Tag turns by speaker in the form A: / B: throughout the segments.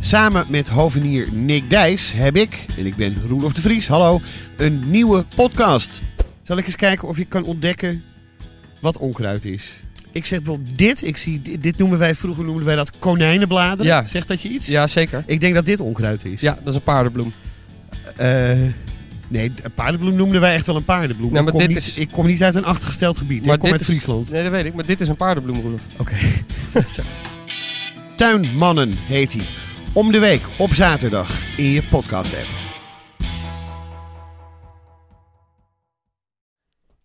A: Samen met hovenier Nick Dijs heb ik, en ik ben Roelof de Vries, hallo, een nieuwe podcast. Zal ik eens kijken of je kan ontdekken wat onkruid is? Ik zeg bijvoorbeeld dit, ik zie, dit, dit noemen wij, vroeger noemden wij dat konijnenbladeren.
B: Ja.
A: Zegt dat je iets?
B: Ja, zeker.
A: Ik denk dat dit onkruid is.
B: Ja, dat is een paardenbloem.
A: Eh, nee, een paardenbloem noemden wij echt wel een paardenbloem.
B: Nee, maar
A: ik, kom
B: dit
A: niet,
B: is-
A: ik kom niet uit een achtergesteld gebied. ik kom
B: dit
A: uit
B: is-
A: Friesland.
B: Nee, dat weet ik. Maar dit is een paardenbloem, Roelof.
A: Oké. Tuinmannen heet hij. Om de week op zaterdag in je podcast app.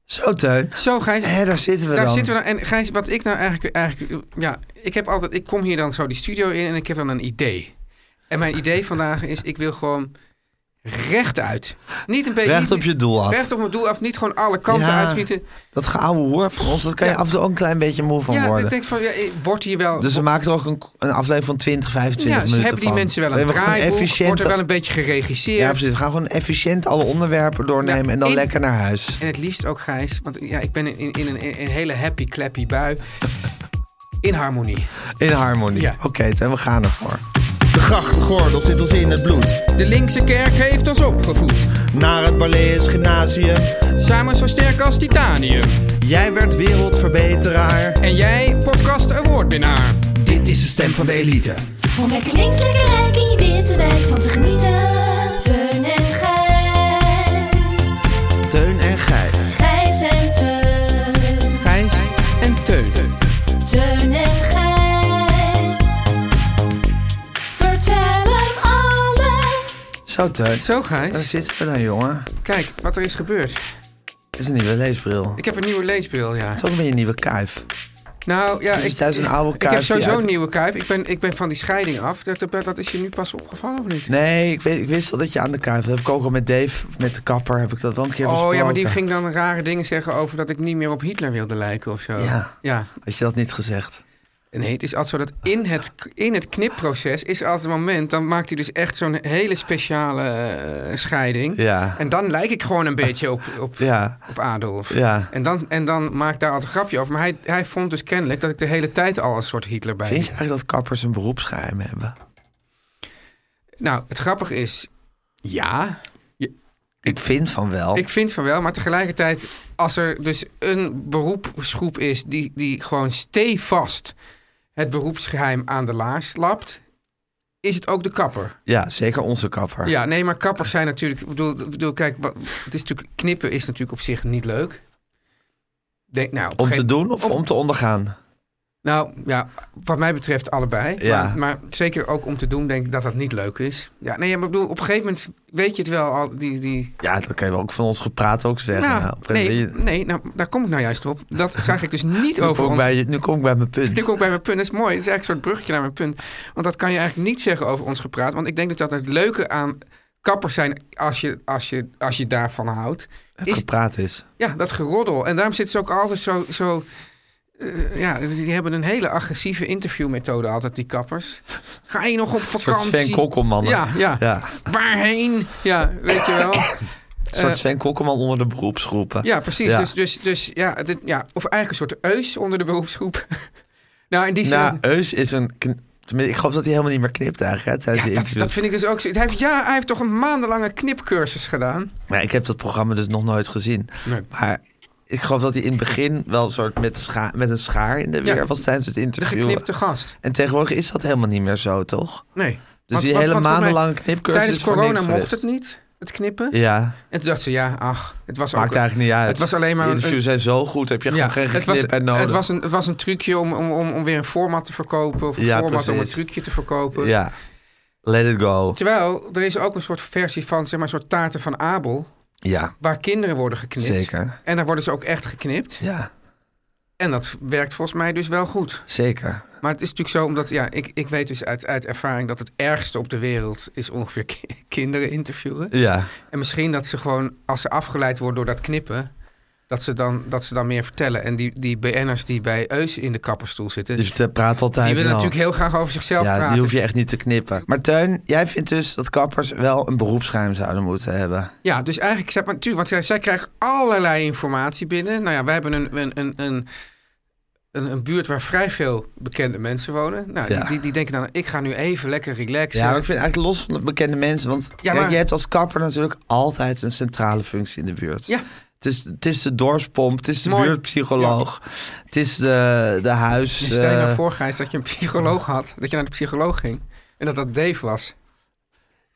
C: Zo, Teun.
D: Zo, Gijs.
C: Hé, daar zitten we
D: daar
C: dan.
D: zitten we dan. En Gijs, wat ik nou eigenlijk, eigenlijk... Ja, ik heb altijd... Ik kom hier dan zo die studio in en ik heb dan een idee. En mijn idee vandaag is, ik wil gewoon rechtuit. Niet een beetje...
C: Recht
D: niet-
C: op je doel af.
D: Recht op mijn doel af. Niet gewoon alle kanten
C: Ja.
D: uitschieten.
C: Dat geouwe hoor van ons, dat kan je
D: Ja.
C: af en toe ook een klein beetje moe van
D: ja, ik
C: worden.
D: denk van, ja, eh, wordt hier wel...
C: Dus we maken er ook een, een aflevering van 20, 25
D: ja, ze
C: minuten
D: hebben die
C: van.
D: mensen wel
C: We
D: een
C: hebben gewoon
D: draaiboek.
C: efficiënt...
D: Wordt er wel een beetje geregisseerd.
C: Ja, precies. We gaan gewoon efficiënt alle onderwerpen doornemen
D: Ja,
C: en dan
D: in-
C: lekker naar huis.
D: En het liefst ook, Gijs, want ja, ik ben in, in, een, in een hele happy, clappy bui. In harmonie.
C: In harmonie.
D: Ja.
C: Oké, Teun, we gaan ervoor. De grachtgordel zit ons in het bloed.
D: De linkse kerk heeft ons opgevoed.
C: Naar het Balees Gymnasium.
D: Samen zo sterk als titanium.
C: Jij werd wereldverbeteraar.
D: En jij, podcast awardwinnaar. Dit is de stem van de elite.
E: Om lekker links, lekker rijk in je witte wijk van te genieten. Teun en Gijs.
C: Teun en Gijs.
E: Gijs en Teun.
D: Gijs en Teun.
E: Teun en Gijs. Vertel hem alles.
C: Zo, Teun.
D: Zo,
C: Daar
D: Gijs.
C: zitten we dan, jongen.
D: Kijk wat er is gebeurd.
C: Het is een nieuwe leesbril.
D: Ik heb een nieuwe leesbril, ja.
C: Toch weer een nieuwe kuif.
D: Nou, ja,
C: Dus
D: ik,
C: jij is een oude
D: ik
C: kuif
D: heb
C: die
D: sowieso
C: uit-
D: een nieuwe kuif. Ik ben, ik ben van die scheiding af. Dat, dat, dat is je nu pas opgevallen of niet?
C: Nee, ik, weet, ik wist al dat je aan de kuif... Dat heb ik ook al met Dave, met de kapper, heb ik dat wel een keer
D: Oh
C: besproken.
D: ja, maar die ging dan rare dingen zeggen over dat ik niet meer op Hitler wilde lijken of zo.
C: Ja. Had je dat niet gezegd?
D: Nee, het is altijd zo dat in het, in het knipproces is er altijd een moment... dan maakt hij dus echt zo'n hele speciale eh, scheiding.
C: Ja.
D: En dan lijk ik gewoon een beetje op, op,
C: Ja.
D: op Adolf.
C: Ja.
D: En, dan, en dan maakt daar altijd een grapje over. Maar hij, hij vond dus kennelijk dat ik de hele tijd al een soort Hitler bij
C: Vind je eigenlijk dat kappers een beroepsgeheim hebben?
D: Nou, het grappige is... Ja,
C: Ik vind van wel.
D: ik vind van wel. Maar tegelijkertijd, als er dus een beroepsgroep is... die, die gewoon stevast het beroepsgeheim aan de laars lapt... is het ook de kapper.
C: Ja, zeker onze kapper.
D: Ja, nee, maar kappers zijn natuurlijk... Ik bedoel, ik bedoel kijk, wat, het is natuurlijk, knippen is natuurlijk op zich niet leuk. Denk, nou, op een
C: Om te
D: gegeven-
C: doen of
D: op-
C: om te ondergaan?
D: Nou ja, wat mij betreft allebei.
C: Ja.
D: Maar, maar zeker ook om te doen, denk ik dat dat niet leuk is. Ja, nee, maar ik bedoel, op een gegeven moment weet je het wel al. Die, die...
C: Ja, dat kan je wel ook van ons gepraat ook zeggen.
D: Nou,
C: Ja, op een gegeven
D: nee,
C: moment-
D: nee nou, daar kom ik nou juist op. Dat zag ik dus niet
C: nu,
D: over
C: kom ik
D: ons.
C: bij, je- nu kom ik bij mijn punt.
D: Nu kom ik bij mijn punt. Dat is mooi. Dat is eigenlijk een soort bruggetje naar mijn punt. Want dat kan je eigenlijk niet zeggen over ons gepraat. Want ik denk dus dat dat het leuke aan kappers zijn als je, als je, als je daarvan houdt.
C: het
D: is-
C: gepraat is.
D: Ja, dat geroddel. En daarom zitten ze ook altijd zo... zo eh, ja, die hebben een hele agressieve interviewmethode altijd, die kappers. Ga je nog op
C: Een soort
D: vakantie?
C: Sven Kokkelman.
D: Ja, ja,
C: Ja,
D: Waarheen? Ja, weet je wel.
C: een soort
D: Eh,
C: Sven Kokkelman onder de beroepsgroepen.
D: Ja, precies.
C: Ja.
D: Dus, dus, dus ja, dit, ja, of eigenlijk een soort eus onder de beroepsgroep. nou, in die zin...
C: Nou, Eus is een... kn- Tenminste, ik geloof dat hij helemaal niet meer knipt eigenlijk. Hè, tijdens
D: ja,
C: de
D: dat,
C: interview.
D: dat vind ik dus ook zo. Hij heeft, ja, hij heeft toch een maandenlange knipcursus gedaan?
C: Nou, ik heb dat programma dus nog nooit gezien.
D: Nee.
C: Maar Ik geloof dat hij in het begin wel een soort met, scha- met een schaar in de weer
D: Ja.
C: was tijdens het
D: De
C: interview.
D: geknipte gast.
C: En tegenwoordig is dat helemaal niet meer zo, toch?
D: Nee.
C: Dus die hele maandenlange knipcursus
D: Tijdens
C: is voor
D: corona
C: niks
D: mocht
C: geweest.
D: het niet, het knippen.
C: Ja,
D: En toen dacht ze, ja, ach, het was ook...
C: maakt eigenlijk niet uit.
D: Het was alleen maar
C: De
D: een-
C: interviews zijn zo goed, heb je gewoon geen
D: het was,
C: geknip en nodig.
D: het, was een, het was een trucje om, om, om, om weer een format te verkopen. Of een
C: Ja,
D: format om een
C: precies.
D: trucje te verkopen.
C: Ja, let it go.
D: Terwijl, er is ook een soort versie van, zeg maar, een soort taarten van Abel.
C: Ja,
D: Waar kinderen worden geknipt.
C: zeker.
D: En daar worden ze ook echt geknipt.
C: Ja,
D: En dat werkt volgens mij dus wel goed.
C: zeker.
D: Maar het is natuurlijk zo, omdat ja, ik, ik weet dus uit, uit ervaring dat het ergste op de wereld is ongeveer ki- kinderen interviewen.
C: Ja,
D: En misschien dat ze gewoon, als ze afgeleid worden door dat knippen, dat ze dan, dat ze dan meer vertellen. En die, die BN'ers die bij Eus in de kapperstoel zitten,
C: dus het praat altijd
D: die willen
C: wel.
D: natuurlijk heel graag over zichzelf
C: ja,
D: praten.
C: die hoef je echt niet te knippen. Maar Teun, jij vindt dus dat kappers wel een beroepsgeheim zouden moeten hebben.
D: Ja, dus eigenlijk, zeg maar, tuurlijk, want zij, zij krijgen allerlei informatie binnen. Nou ja, wij hebben een, een, een, een, een, een buurt waar vrij veel bekende mensen wonen. Nou,
C: Ja.
D: die, die, die denken dan, ik ga nu even lekker relaxen.
C: Ja, maar ik vind eigenlijk los van de bekende mensen. Want kijk,
D: maar-
C: je hebt als kapper natuurlijk altijd een centrale functie in de buurt.
D: Ja.
C: Het is, het is de dorpspomp, het is de
D: Mooi.
C: buurtpsycholoog, het is de, de huis...
D: Dus stel je nou
C: eh,
D: voor, Gijs, dat je een psycholoog had. Dat je naar de psycholoog ging. En dat dat Dave was.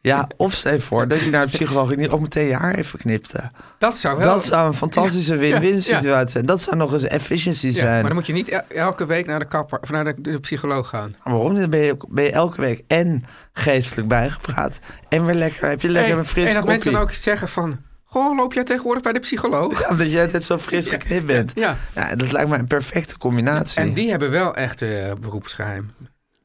C: Ja, of stel je voor dat je naar de psycholoog niet ook meteen je haar even knipte.
D: Dat zou Ah, wel...
C: Dat zou een fantastische win-win
D: ja.
C: situatie zijn. Dat zou nog eens efficiency
D: Ja,
C: zijn.
D: maar dan moet je niet el- elke week naar de kapper of naar de, de psycholoog gaan.
C: Waarom niet? Dan ben je, ben je elke week en geestelijk bijgepraat. En weer lekker, heb je lekker
D: Nee,
C: een fris
D: en dat
C: koppie.
D: mensen dan ook zeggen van... Goh, loop jij tegenwoordig bij de psycholoog?
C: Ja, Omdat jij altijd zo fris geknipt bent.
D: Ja.
C: Ja, dat lijkt me een perfecte combinatie.
D: En die hebben wel echt eh, beroepsgeheim.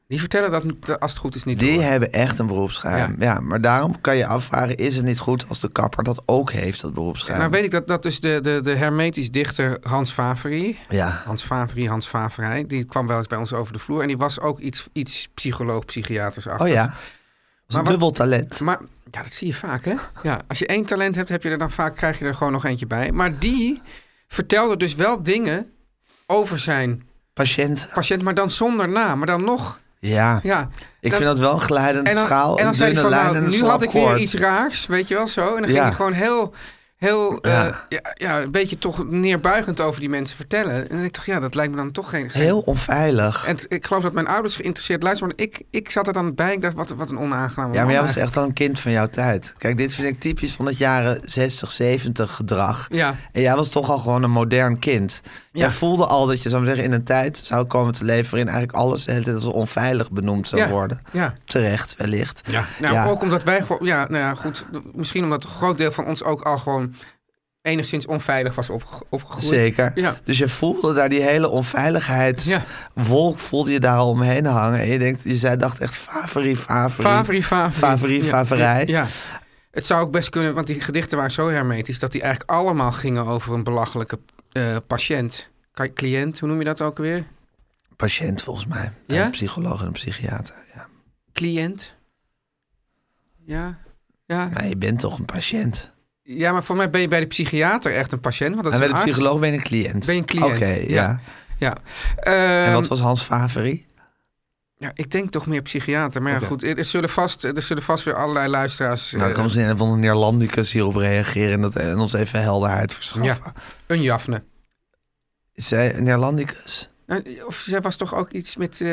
D: Die vertellen dat dat als het goed is niet
C: Die
D: door.
C: hebben echt een beroepsgeheim. Ja. maar daarom kan je afvragen, is het niet goed als de kapper dat ook heeft, dat beroepsgeheim?
D: Maar weet ik dat, dat dus de, de, de hermetisch dichter Hans Faverie...
C: Ja,
D: Hans Faverie, Hans Faverij, die kwam wel eens bij ons over de vloer. En die was ook iets, iets psycholoog, psychiaters achter.
C: oh ja. Dat is
D: Maar
C: een
D: wat-
C: dubbel talent.
D: Maar ja, dat zie je vaak, hè? Ja, als je één talent hebt, heb je er dan vaak, krijg je er gewoon nog eentje bij. Maar die vertelde dus wel dingen over zijn
C: Patiënt.
D: patiënt, maar dan zonder naam. Maar dan nog,
C: Ja,
D: ja.
C: ik
D: Dan-
C: vind dat wel een glijdende
D: En dan,
C: schaal,
D: en dan
C: een
D: zei hij
C: dunne
D: van,
C: lijn
D: nou,
C: en een
D: nu had ik weer
C: slagkoord.
D: iets raars, weet je wel, zo. En dan
C: Ja.
D: ging hij gewoon heel, heel, eh,
C: Ja.
D: ja. Ja, een beetje toch neerbuigend over die mensen vertellen. En ik dacht, ja, dat lijkt me dan toch geen... geen-
C: Heel onveilig.
D: En t- ik geloof dat mijn ouders geïnteresseerd luisterden, maar ik, ik zat er dan bij. Ik dacht, wat, wat een onaangename
C: Ja, maar
D: man
C: jij was
D: eigenlijk.
C: echt al een kind van jouw tijd. Kijk, dit vind ik typisch van het jaren 60, 70 gedrag.
D: Ja.
C: En jij was toch al gewoon een modern kind. Jij
D: Ja.
C: voelde al dat je, zou ik zeggen, in een tijd zou komen te leven... waarin eigenlijk alles de hele tijd als onveilig benoemd zou
D: Ja,
C: worden.
D: ja.
C: Terecht, wellicht. Ja,
D: Nou, ook omdat wij gewoon, ja, nou ja, goed, d- misschien omdat een groot deel van ons ook al gewoon enigszins onveilig was opge- opgegroeid.
C: Zeker.
D: Ja.
C: Dus je voelde daar die hele
D: Ja.
C: onveiligheidswolk voelde je daar al omheen hangen. En je, denkt, je zei, dacht echt favori, favori.
D: Favori, favori.
C: Favori,
D: Ja,
C: favorij.
D: Ja, ja. Het zou ook best kunnen, want die gedichten waren zo hermetisch dat die eigenlijk allemaal gingen over een belachelijke eh, patiënt. Ka- Cliënt, hoe noem je dat ook weer?
C: Patiënt volgens mij.
D: Ja?
C: Een psycholoog en een psychiater. Ja.
D: Cliënt. Ja. Ja.
C: Maar je bent toch een patiënt.
D: ja, maar voor mij ben je bij de psychiater echt een patiënt. Want dat
C: en
D: is
C: bij
D: een
C: de
D: arts.
C: psycholoog ben je een cliënt.
D: Ben je een cliënt,
C: Oké, ja.
D: ja. Ja. Ehm,
C: En wat was Hans favori?
D: ja, ik denk toch meer psychiater. Maar ja,
C: Oké.
D: goed, er er zullen, vast, er zullen vast weer allerlei luisteraars
C: nou,
D: eh,
C: dan kan ze een van de Neerlandicus hierop reageren en, dat, en ons even helderheid verschaffen.
D: een jafne.
C: Is zij een Neerlandicus?
D: Nou, Of zij was toch ook iets met... eh,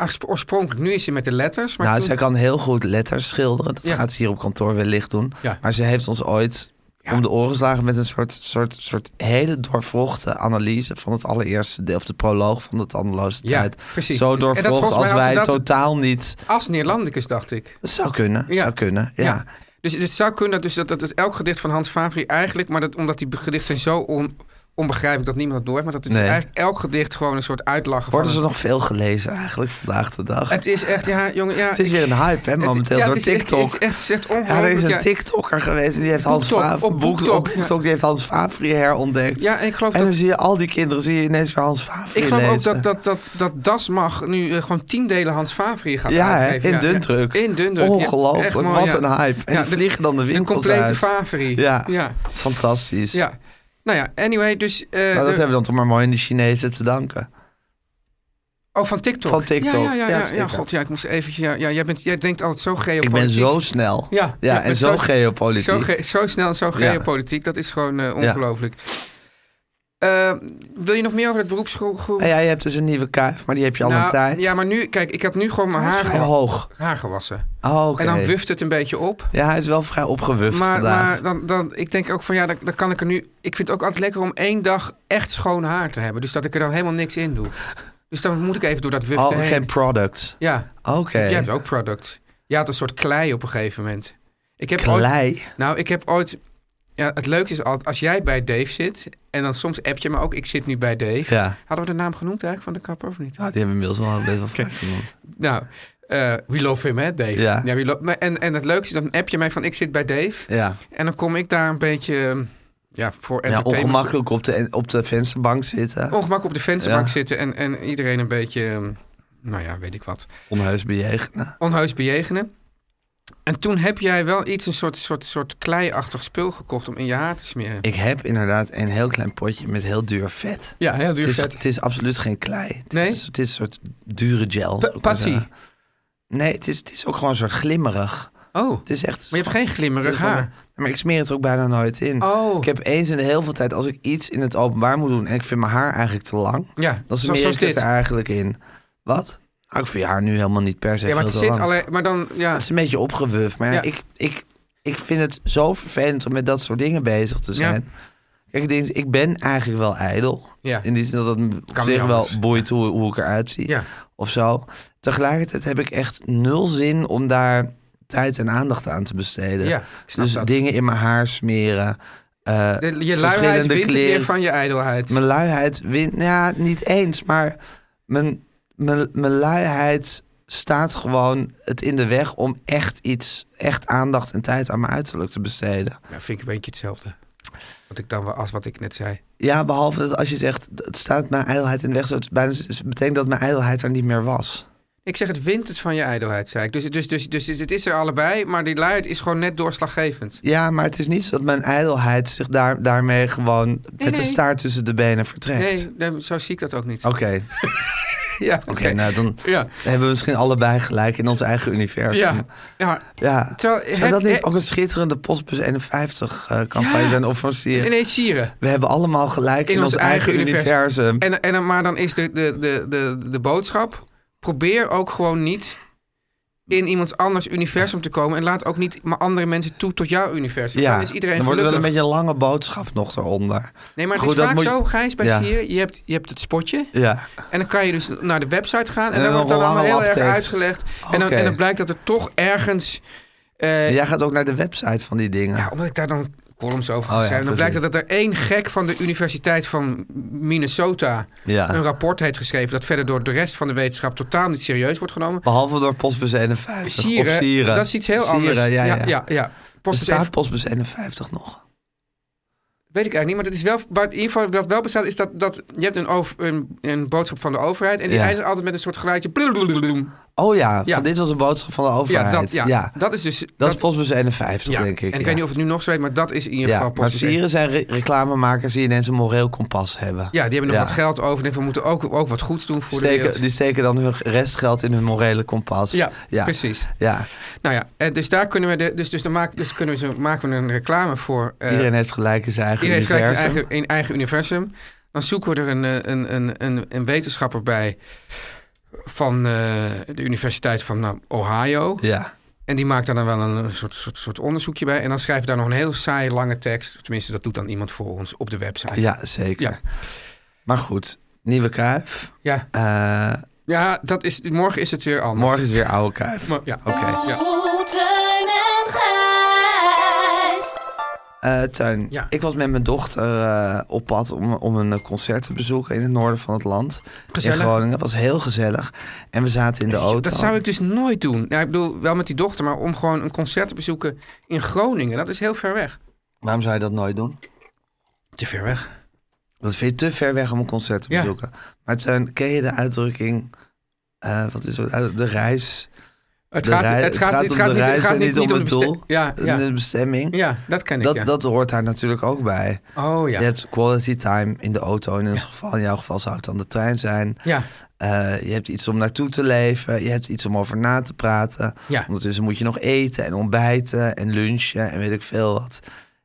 D: oorsp- oorspronkelijk, nu is ze met de letters. Maar
C: nou,
D: toen-
C: zij kan heel goed letters schilderen. Dat
D: Ja.
C: gaat ze hier op kantoor wellicht doen.
D: Ja.
C: Maar ze heeft ons ooit
D: Ja.
C: om de oren geslagen met een soort, soort, soort hele doorvrochte analyse van het allereerste deel, of de proloog van de tandeloze
D: Ja,
C: tijd.
D: precies.
C: Zo
D: En dat
C: doorvrocht
D: volgens mij
C: als
D: had ze
C: wij
D: dat-
C: totaal niet.
D: Als Neerlandicus, dacht ik.
C: Dat zou kunnen.
D: Ja.
C: Zou kunnen. Ja.
D: Dus het zou kunnen dat, dus dat, dat, dat elk gedicht van Hans Favri eigenlijk... maar dat, omdat die gedichten zijn zo on, onbegrijpelijk dat niemand het door heeft... maar dat is
C: Nee.
D: eigenlijk elk gedicht gewoon een soort uitlachen
C: Worden
D: van...
C: ze
D: een-
C: nog veel gelezen eigenlijk vandaag de dag?
D: Het is echt, ja, jongen... Ja,
C: Het is
D: ik-
C: weer een hype, hè,
D: het-
C: momenteel,
D: ja,
C: door
D: het is echt- Het
C: TikTok.
D: is echt, het is echt
C: Ja, er is
D: ongelooflijk.
C: een
D: Ja,
C: TikToker geweest en die heeft Hans
D: Boektok,
C: Favre...
D: op Boektok,
C: op Boektok, die heeft Hans Favre herontdekt.
D: Ja, en ik geloof
C: en dan
D: dat...
C: zie je al die kinderen, zie je ineens weer Hans Favre
D: Ik geloof ook
C: lezen.
D: dat, dat, dat, dat Das mag nu eh, gewoon tien delen Hans Favri gaat
C: Ja, hè,
D: uitgeven.
C: in dundruk.
D: In Dundruk. ja.
C: Ongelooflijk,
D: Echt mooi,
C: wat
D: ja.
C: een hype. En
D: Ja,
C: die vliegen dan de
D: De
C: winkels
D: complete
C: uit.
D: Favri.
C: Ja.
D: ja.
C: Fantastisch.
D: Ja. Nou ja, anyway, dus... eh,
C: Maar dat
D: de-
C: hebben we dan toch maar mooi aan de Chinezen te danken.
D: Oh, van TikTok.
C: Van TikTok.
D: Ja, ja, ja,
C: Ja,
D: ja, ja,
C: zeker.
D: god, ja, ik moest even... Ja, ja, jij, bent, jij denkt altijd zo
C: Ik
D: geopolitiek.
C: ben zo snel.
D: Ja, ja,
C: en
D: maar
C: zo,
D: zo-
C: geopolitiek.
D: Zo, ge- zo snel en zo
C: Ja.
D: geopolitiek. Dat is gewoon eh, ongelooflijk. Eh, wil je nog meer over dat beroepsgroep?
C: En jij hebt dus een nieuwe kuif, maar die heb je al een tijd.
D: Nou, Ja, maar nu, kijk, ik had nu gewoon mijn
C: Hij is
D: haar,
C: vrij
D: gewa-
C: hoog.
D: haar gewassen.
C: Oh, oké.
D: En dan wuft het een beetje op.
C: Ja, hij is wel vrij opgewuft
D: Maar,
C: vandaag.
D: maar dan, dan, ik denk ook van ja, dan, dan kan ik er nu. Ik vind het ook altijd lekker om één dag echt schoon haar te hebben. Dus dat ik er dan helemaal niks in doe. Dus dan moet ik even door dat wuften
C: oh,
D: heen.
C: geen product.
D: Ja,
C: Oké.
D: jij hebt ook product. Je had een soort klei op een gegeven moment. Ik heb Ooit,
C: Klei.
D: nou, ik heb ooit. Ja, het leuke is altijd, als jij bij Dave zit. En dan soms app je me ook, ik zit nu bij Dave.
C: Ja.
D: Hadden we de naam genoemd eigenlijk van de kapper of niet?
C: Nou, die hebben inmiddels wel best wel vaak genoemd.
D: Nou, eh, we love him, hè, Dave?
C: Ja.
D: we lo- maar- en, en het leuke is, dan app je mij van ik zit bij Dave.
C: Ja.
D: En dan kom ik daar een beetje eh, ja, voor
C: ja,
D: entertainment. Oh.
C: ongemakkelijk op de, op de vensterbank zitten.
D: Ongemak op de vensterbank
C: Ja.
D: zitten en, en iedereen een beetje, eh, nou ja, weet ik wat,
C: Onheus Nou, bejegenen.
D: onheus bejegenen. En toen heb jij wel iets, een soort, soort, soort kleiachtig spul gekocht om in je haar te smeren.
C: Ik heb inderdaad een heel klein potje met heel duur vet.
D: Ja, heel
C: Het is, het is absoluut geen klei. Het,
D: Nee?
C: is, het is een soort dure gel.
D: Pa-
C: zou ik maar
D: patty?
C: zeggen. Nee, het is, het is ook gewoon een soort glimmerig.
D: Oh, maar
C: Het is echt...
D: je hebt geen
C: het
D: glimmerig
C: is gewoon-
D: haar.
C: Maar ik smeer het er ook bijna nooit in.
D: Oh,
C: Ik heb eens in de heel veel tijd, als ik iets in het openbaar moet doen... en ik vind mijn haar eigenlijk te lang...
D: ja,
C: dan
D: zo-
C: smeer
D: zoals
C: ik het
D: dit.
C: er eigenlijk in. Wat? Nou, ik vind haar nu helemaal niet per se
D: Ja, maar het
C: veel te
D: zit
C: lang.
D: alleen, maar dan, ja.
C: Het is een beetje opgewuft. Maar ja,
D: Ja.
C: Ik, ik, ik vind het zo vervelend om met dat soort dingen bezig te zijn. Kijk, het ding is, ik ben eigenlijk wel ijdel.
D: Ja.
C: In die zin dat het me op
D: Kan
C: zich
D: niet
C: wel
D: anders.
C: boeit hoe, hoe ik eruit zie.
D: Ja.
C: Of zo. Tegelijkertijd heb ik echt nul zin om daar tijd en aandacht aan te besteden.
D: Ja, ik snap
C: dus
D: dat.
C: dingen in mijn haar smeren. eh,
D: De- je luiheid
C: verschillende
D: wint het weer
C: kleren.
D: van je ijdelheid.
C: Mijn luiheid wint. nou Ja, niet eens. Maar mijn, mijn, mijn luiheid staat gewoon het in de weg om echt iets, echt aandacht en tijd aan mijn uiterlijk te besteden.
D: Ja, vind ik een beetje hetzelfde. Wat ik dan wel, als wat ik net zei.
C: Ja, behalve dat als je zegt, het staat mijn ijdelheid in de weg, zo, het is bijna- het betekent dat mijn ijdelheid er niet meer was.
D: Ik zeg, het wint het van je ijdelheid, zei ik. Dus, dus, dus, dus het is er allebei, maar die luid is gewoon net doorslaggevend.
C: Ja, maar het is niet zo dat mijn ijdelheid zich daar, daarmee gewoon met
D: nee.
C: de staart tussen de benen vertrekt.
D: Nee, nee, zo zie ik dat ook niet.
C: Oké,
D: Ja, oké.
C: oké, nou dan
D: Ja,
C: hebben we misschien allebei gelijk in ons eigen universum.
D: ja. ja.
C: Ja.
D: Terwijl,
C: Zou dat
D: heb-
C: niet
D: heb-
C: ook een schitterende Postbus 51 eh, campagne zijn? Of van Sier?
D: Ineens sieren.
C: We hebben allemaal gelijk in, ons eigen, universum.
D: En, en, maar dan is de, de, de, de, de boodschap, probeer ook gewoon niet in iemands anders universum te komen. En laat ook niet maar andere mensen toe tot jouw universum.
C: ja,
D: Dan is iedereen
C: dan wordt het wel
D: gelukkig.
C: een beetje een lange boodschap nog eronder.
D: Nee, maar het
C: Goed,
D: is
C: dat
D: vaak
C: moet-
D: zo, Gijs, bij
C: Ja.
D: sieren. Je hebt, je hebt het spotje.
C: Ja,
D: En dan kan je dus naar de website gaan. En,
C: En
D: dan
C: dan
D: wordt dat
C: nog
D: allemaal
C: lange
D: heel erg
C: labtekst.
D: uitgelegd. En, dan,
C: Oké.
D: en dan blijkt dat er toch ergens... eh,
C: En
D: ja.
C: jij gaat ook naar de website van die dingen.
D: omdat ik daar dan columns over
C: Oh
D: ga
C: ja,
D: schrijven. dan
C: precies.
D: blijkt dat er één gek van de Universiteit van Minnesota...
C: Ja.
D: een rapport heeft geschreven... dat verder door de rest van de wetenschap totaal niet serieus wordt genomen.
C: Behalve door Postbus 51. of Sieren.
D: dat is iets heel
C: Sieren,
D: anders.
C: Ja, ja.
D: ja, ja, ja. Post is
C: Bestaat
D: even-
C: Postbus 51 nog?
D: Weet ik eigenlijk niet, maar dat is wel, waar in ieder geval wat wel bestaat, is dat, dat je hebt een, over, een, een boodschap van de overheid en die
C: Ja.
D: eindigt altijd met een soort geluidje.
C: Oh ja,
D: Ja.
C: Van, dit was een boodschap van de
D: Ja,
C: overheid.
D: dat, ja, dat is dus...
C: Dat is Postbus 51,
D: ja.
C: denk ik.
D: En ik
C: ja.
D: weet niet of het nu nog zo heet, maar dat is in ieder
C: ja.
D: geval
C: Maar
D: Postbus
C: Sieren zijn re- reclamemakers die ineens een moreel kompas hebben.
D: Ja, die hebben nog
C: Ja.
D: wat geld over. En we moeten ook, ook wat goeds doen voor de wereld.
C: Steken, die steken dan hun restgeld in hun morele kompas.
D: Ja,
C: ja.
D: precies.
C: Ja,
D: Nou ja, eh, dus daar kunnen we, de, dus, dus dan maken, dus kunnen we, zo- maken we een reclame voor. eh,
C: iedereen heeft gelijk in zijn eigen
D: iedereen heeft gelijk zijn
C: universum.
D: eigen, een eigen universum. Dan zoeken we er een, eh, een, een, een, een wetenschapper bij van eh, de Universiteit van nou, Ohio.
C: Ja,
D: En die maakt daar dan wel een soort, soort, soort onderzoekje bij. En dan schrijft daar nog een heel saai lange tekst. Tenminste, dat doet dan iemand voor ons op de website.
C: ja, zeker.
D: Ja.
C: Maar goed, nieuwe Kuif.
D: Ja,
C: Eh,
D: ja dat is, morgen is het weer anders.
C: morgen is weer oude Kuif.
D: Maar- ja.
C: Oké.
D: Ja.
E: Oh, Teun en Gijs.
C: Eh, Teun,
D: Ja.
C: ik was met mijn dochter eh, op pad om, om een eh, concert te bezoeken in het noorden van het land.
D: Gezellig.
C: In Groningen. Dat was heel gezellig. En we zaten in de auto.
D: Dat zou ik dus nooit doen. Ja, ik bedoel, wel met die dochter, maar om gewoon een concert te bezoeken in Groningen. Dat is heel ver weg.
C: Waarom zou je dat nooit doen?
D: Te ver weg.
C: Dat vind je te ver weg om een concert te
D: Ja.
C: bezoeken. Maar Teun, ken je de uitdrukking... eh, wat is dat? De reis...
D: Het
C: De
D: gaat, het
C: rij-
D: gaat,
C: het gaat
D: het
C: om
D: gaat
C: de
D: niet, het
C: reis
D: gaat
C: en
D: niet,
C: niet
D: niet
C: om
D: om de
C: het doel.
D: beste- Ja, ja.
C: de bestemming.
D: ja, dat ken ik.
C: dat,
D: ja.
C: dat hoort daar natuurlijk ook bij.
D: oh ja.
C: Je hebt quality time in de auto. In, ons geval, in jouw geval zou het dan de trein zijn.
D: ja. Oh,
C: Eh, je hebt iets om naartoe te leven. Je hebt iets om over na te praten.
D: Ja.
C: Ondertussen moet je nog eten en ontbijten en lunchen en weet ik veel wat.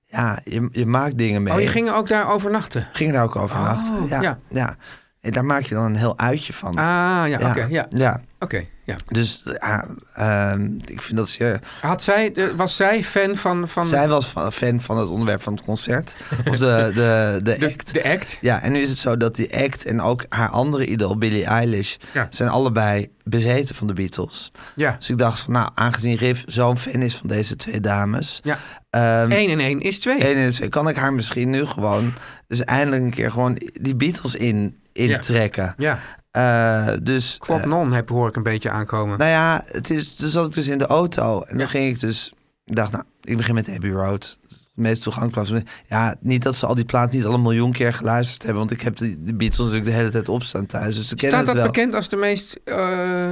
C: Ja, je, je maakt dingen mee.
D: Oh, je ging ook daar overnachten?
C: Ging er ook overnachten.
D: Oh,
C: ja, ja.
D: ja.
C: En daar maak je dan een heel uitje van.
D: Ah, ja, oké, ja.
C: ja.
D: Oké, ja.
C: Dus ja, ehm, ik vind dat ze...
D: Had zij, eh, was zij fan van, van
C: Zij was fa- fan van het onderwerp van het concert. Of de, de, de,
D: de,
C: act.
D: de act?
C: Ja, en nu is het zo dat die act en ook haar andere idool, Billie Eilish...
D: Ja.
C: zijn allebei bezeten van de Beatles.
D: Ja.
C: Dus ik dacht van, nou, aangezien Riff zo'n fan is van deze twee dames...
D: ja.
C: ehm,
D: Eén en één is twee.
C: één is, kan ik haar misschien nu gewoon... dus eindelijk een keer gewoon die Beatles in, intrekken.
D: Ja.
C: Eh, dus...
D: Quad non heb, hoor ik een beetje aankomen.
C: Nou ja, het is, toen zat ik dus in de auto. En dan ging ik dus... Ik dacht, nou, ik begin met Abbey Road. Het is de meest toegankelijke plaats. Ja, niet dat ze al die plaat niet al een miljoen keer geluisterd hebben. Want ik heb de, de Beatles natuurlijk de hele tijd opstaan thuis. Dus ze kennen
D: Staat
C: het
D: dat
C: wel.
D: bekend als de meest... eh,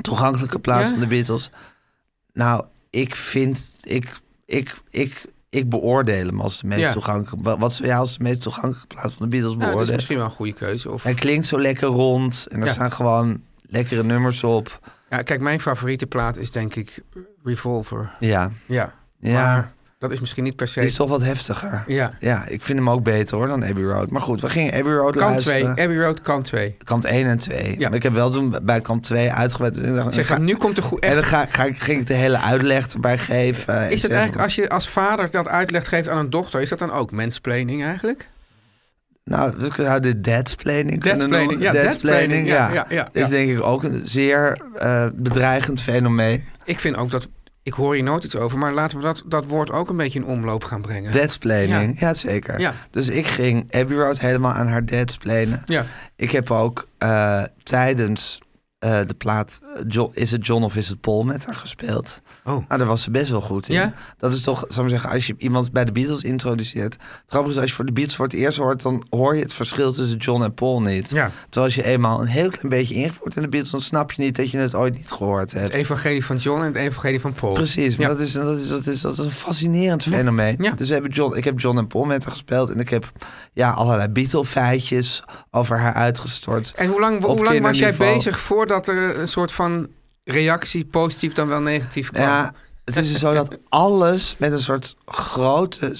C: Toegankelijke plaats
D: Ja?
C: van de Beatles. Nou, ik vind... Ik, ik, ik, ik beoordeel hem als de meest
D: Ja.
C: toegankelijke... wa- Wat zou jij als de meest toegankelijke plaats van de Beatles
D: nou, dat is
C: beoordelen?
D: misschien wel een goede keuze. Of...
C: Hij klinkt zo lekker rond. En er
D: Ja.
C: staan gewoon lekkere nummers op.
D: Ja, kijk, mijn favoriete plaat is denk ik Revolver.
C: Ja,
D: Ja.
C: Ja.
D: Maar dat is misschien niet per se...
C: die is toch wat heftiger.
D: Ja.
C: Ja, ik vind hem ook beter hoor dan Abbey Road. Maar goed, we gingen Abbey Road
D: Kant 2.
C: luisteren.
D: Abbey Road, kant 2.
C: Kant 1 en 2.
D: Ja.
C: Maar ik heb wel toen bij kant 2 uitgebreid. Ik dacht, ik
D: Zeg,
C: ga-
D: nu komt de goede...
C: en dan ga, ga, ik- ging ik de hele uitleg erbij geven. En
D: Is
C: zeg-
D: dat eigenlijk, als je als vader dat uitleg geeft aan een dochter, is dat dan ook mansplaining eigenlijk?
C: Nou, we kunnen nou de deadsplaining kunnen
D: Deadsplaining,
C: noemen.
D: ja,
C: Deadsplaining,
D: deadsplaining, ja, ja, ja, ja.
C: Is denk ik ook een zeer eh, bedreigend fenomeen.
D: Ik vind ook dat, ik hoor hier nooit iets over, maar laten we dat, dat woord ook een beetje in omloop gaan brengen.
C: Deadsplaining, ja. zeker.
D: Ja.
C: Dus ik ging Abbey Road helemaal aan haar deadsplainen.
D: Ja.
C: Ik heb ook eh, tijdens eh, de plaat eh, Jo- Is het John of Is het Paul met haar gespeeld.
D: Oh.
C: Nou, daar was ze best wel goed in.
D: Ja?
C: Dat is toch, zou ik maar zeggen, als je iemand bij de Beatles introduceert. Grappig is, als je voor de Beatles voor het eerst hoort, dan hoor je het verschil tussen John en Paul niet.
D: Ja.
C: Terwijl als je eenmaal een heel klein beetje ingevoerd in de Beatles, dan snap je niet dat je het ooit niet gehoord hebt.
D: Het evangelie van John en het evangelie van Paul.
C: Precies, maar
D: Ja.
C: dat, is, dat, is, dat, is, dat is een fascinerend fenomeen.
D: Ja.
C: Dus we hebben John, ik heb John en Paul met haar gespeeld. En ik heb ja, allerlei Beatle-feitjes over haar uitgestort.
D: En hoe lang,
C: Op
D: hoe lang was jij
C: kinderniveau.
D: bezig voordat er een soort van reactie, positief dan wel negatief, kwam?
C: Ja, het is dus zo dat alles met een soort grote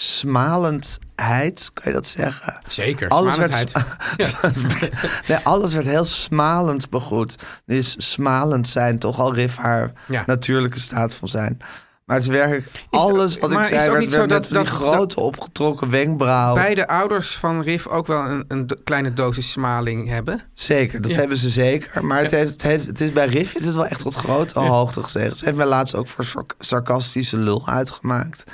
C: smalendheid, kan je dat zeggen?
D: Zeker,
C: Alles werd,
D: smalendheid.
C: nee, alles werd heel smalend begroet. Nu is smalend zijn toch al Riff haar
D: Ja.
C: natuurlijke staat van zijn. Maar het is werkelijk
D: dat-
C: alles wat ik
D: maar is
C: zei
D: het ook
C: werd,
D: niet
C: werd
D: zo
C: met
D: dat-
C: die
D: dat-
C: grote opgetrokken wenkbrauwen.
D: Beide ouders van Riff ook wel een, een do- kleine dosis smaling hebben.
C: Zeker, dat hebben ze zeker. Maar het, heeft, het, heeft, het is bij Riff is het wel echt tot grote hoogte gezegd. Ze heeft mij laatst ook voor sarc- sarcastische lul uitgemaakt.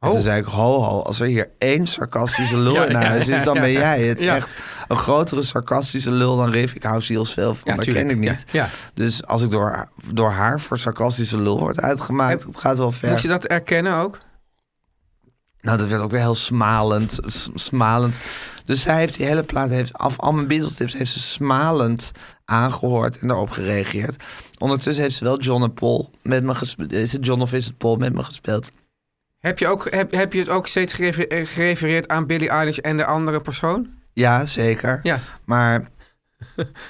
C: En
D: Oh.
C: toen zei ik, ho ho, als er hier één sarcastische lul
D: Ja,
C: in
D: ja,
C: huis is... dan
D: ja,
C: ben
D: ja.
C: jij het.
D: Ja.
C: Echt een grotere sarcastische lul dan Riff. Ik hou ziels veel van,
D: Ja,
C: dat
D: tuurlijk.
C: ken ik
D: Ja,
C: niet.
D: ja.
C: Dus als ik door, door haar voor sarcastische lul word uitgemaakt... het gaat wel ver.
D: Moest je dat erkennen ook?
C: Nou, dat werd ook weer heel smalend. s- smalend. Dus zij heeft die hele plaat, heeft, af al mijn Beatles tips, heeft ze smalend aangehoord en daarop gereageerd. Ondertussen heeft ze wel John en Paul met me gespeeld. Is het John of is het Paul met me gespeeld?
D: Heb je, ook, heb, heb je het ook steeds gerefe- eh, gerefereerd aan Billie Eilish en de andere persoon?
C: Ja, zeker.
D: Ja.
C: Maar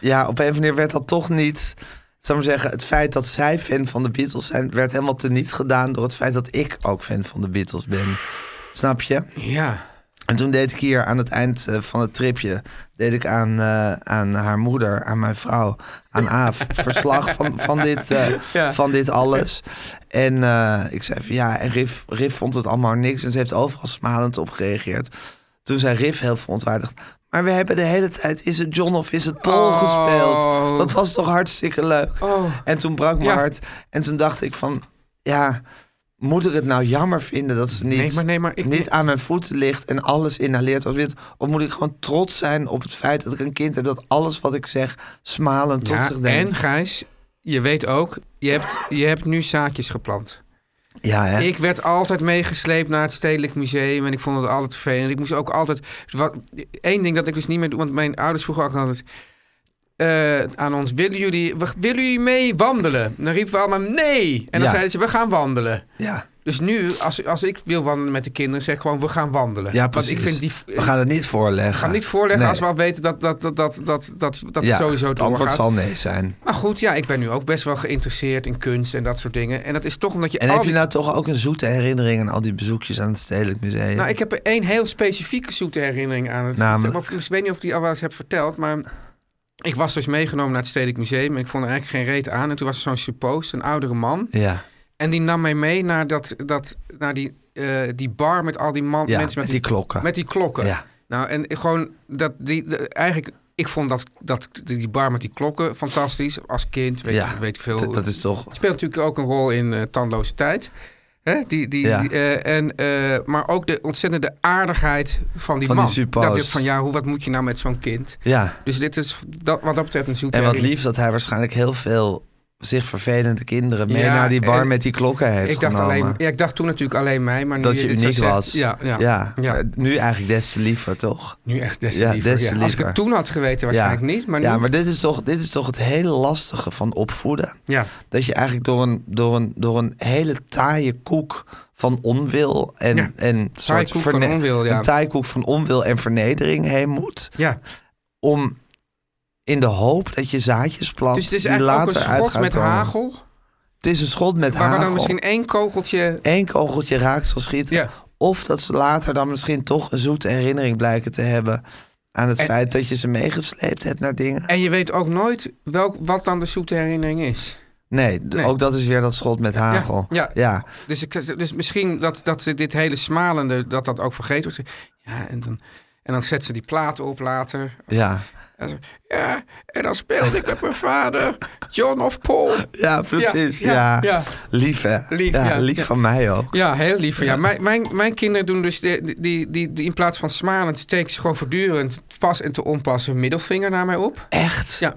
C: ja, op een of andere manier werd dat toch niet... Zal ik maar zeggen, het feit dat zij fan van de Beatles zijn... werd helemaal teniet gedaan door het feit dat ik ook fan van de Beatles ben. Snap je?
D: Ja.
C: En toen deed ik hier aan het eind eh, van het tripje... deed ik aan, eh, aan haar moeder, aan mijn vrouw, aan Aaf... verslag van, van, dit, eh, van dit alles. En eh, ik zei van ja, en Riff, Riff vond het allemaal niks... en ze heeft overal smalend op gereageerd. Toen zei Riff heel verontwaardigd... maar we hebben de hele tijd is het John of is het Paul
D: Oh.
C: gespeeld. Dat was toch hartstikke leuk.
D: Oh.
C: En toen brak mijn
D: Ja.
C: hart. En toen dacht ik van ja... Moet ik het nou jammer vinden dat ze niet,
D: Nee, maar- nee, maar ik-
C: niet aan mijn voeten ligt en alles inhaleert als wit? Of moet ik gewoon trots zijn op het feit dat ik een kind heb dat alles wat ik zeg smalend tot
D: Ja,
C: zich neemt?
D: en Gijs, je weet ook, je hebt, je hebt nu zaadjes geplant.
C: Ja, hè?
D: Ik werd altijd meegesleept naar het Stedelijk Museum en ik vond het altijd vervelend. Ik moest ook altijd... dus Wat, één ding dat ik dus niet meer doe, want mijn ouders vroegen ook altijd... eh, aan ons, willen jullie, we- willen jullie mee wandelen? Dan riepen we allemaal nee. En dan
C: Ja.
D: zeiden ze, we gaan wandelen.
C: ja.
D: Dus nu, als, als ik wil wandelen met de kinderen, zeg ik gewoon, we gaan wandelen.
C: Ja,
D: Want
C: precies.
D: ik vind die...
C: We gaan het niet voorleggen.
D: gaan niet voorleggen
C: Nee.
D: als we al weten dat, dat, dat, dat, dat, dat, dat
C: Ja,
D: het sowieso
C: het antwoord
D: doorgaat.
C: zal nee zijn.
D: Maar goed, ja, ik ben nu ook best wel geïnteresseerd in kunst en dat soort dingen. En dat is toch omdat je
C: En
D: al
C: heb je
D: die-
C: nou toch ook een zoete herinnering aan al die bezoekjes aan het Stedelijk Museum?
D: Nou, ik heb er één heel specifieke zoete herinnering aan. Het,
C: Namelijk?
D: Of, ik weet niet of ik die al wel eens heb verteld, maar... Ik was dus meegenomen naar het Stedelijk Museum en ik vond er eigenlijk geen reet aan. En toen was er zo'n suppoos, een oudere man.
C: Ja,
D: En die nam mij mee naar, dat, dat, naar die, eh, die bar met al die man,
C: ja met,
D: mensen met
C: die klokken.
D: Met die klokken.
C: Ja.
D: Nou, en gewoon dat die, de- eigenlijk, ik vond dat, dat die bar met die klokken fantastisch. Als kind, weet,
C: Ja,
D: ik, weet ik veel.
C: Dat, dat is toch...
D: Speelt natuurlijk ook een rol in eh Tandloze Tijd. Hè? Die, die,
C: Ja.
D: die, eh, en, eh, maar ook de ontzettende aardigheid van die
C: Van die
D: man.
C: suppo's.
D: dat ik van, ja, hoe, wat moet je nou met zo'n kind?
C: Ja,
D: Dus dit is dat, wat dat betreft een zoete
C: en wat
D: herinnering.
C: lief dat hij waarschijnlijk heel veel zich vervelende kinderen mee
D: Ja,
C: naar die bar
D: en
C: met die klokken heeft
D: Ik dacht,
C: genomen.
D: alleen, ja, ik dacht toen natuurlijk alleen mij. Maar nu
C: Dat je
D: dit zo
C: uniek
D: zegt-
C: was.
D: Ja, ja.
C: Ja,
D: Ja.
C: eh, nu eigenlijk des te liever, toch?
D: nu echt des te
C: Ja,
D: liever,
C: des te
D: ja. Als ik
C: liever.
D: het toen had geweten, waarschijnlijk
C: ja.
D: niet. Maar nu,
C: ja, maar dit is, toch, dit is toch het hele lastige van opvoeden.
D: ja.
C: Dat je eigenlijk door een, door een, door een hele taaie koek van onwil en,
D: Ja.
C: en soort
D: koek van
C: verne-
D: onwil, ja.
C: een taaie koek van onwil en vernedering heen moet.
D: ja.
C: Om in de hoop dat je zaadjes plant
D: Dus het is
C: die
D: eigenlijk ook
C: later
D: een
C: uit
D: schot
C: gaan
D: met
C: komen.
D: hagel.
C: Het is een schot met
D: Waar we
C: hagel.
D: dan misschien één kogeltje...
C: één kogeltje raak zal schieten.
D: Ja.
C: Of dat ze later dan misschien toch een zoete herinnering blijken te hebben aan het
D: En-
C: feit dat je ze meegesleept hebt naar dingen.
D: En je weet ook nooit welk, wat dan de zoete herinnering is.
C: Nee, d-
D: Nee.
C: ook dat is weer dat schot met hagel.
D: ja.
C: ja.
D: Dus, ik, dus misschien dat, dat ze dit hele smalende, dat dat ook vergeten wordt. Ja, en dan, en dan zet ze die platen op later.
C: ja.
D: En dan- ja, en dan speelde ik met mijn vader, John of Paul.
C: Ja, precies. Ja,
D: Ja, ja.
C: Lief, hè?
D: Lief,
C: ja,
D: ja.
C: lief
D: Ja.
C: van mij ook.
D: Ja, heel lief van jou. Mijn, mijn, mijn kinderen doen dus de- die, die, die, in plaats van smalend, steken ze gewoon voortdurend pas en te onpas hun middelvinger naar mij op.
C: Echt?
D: Ja.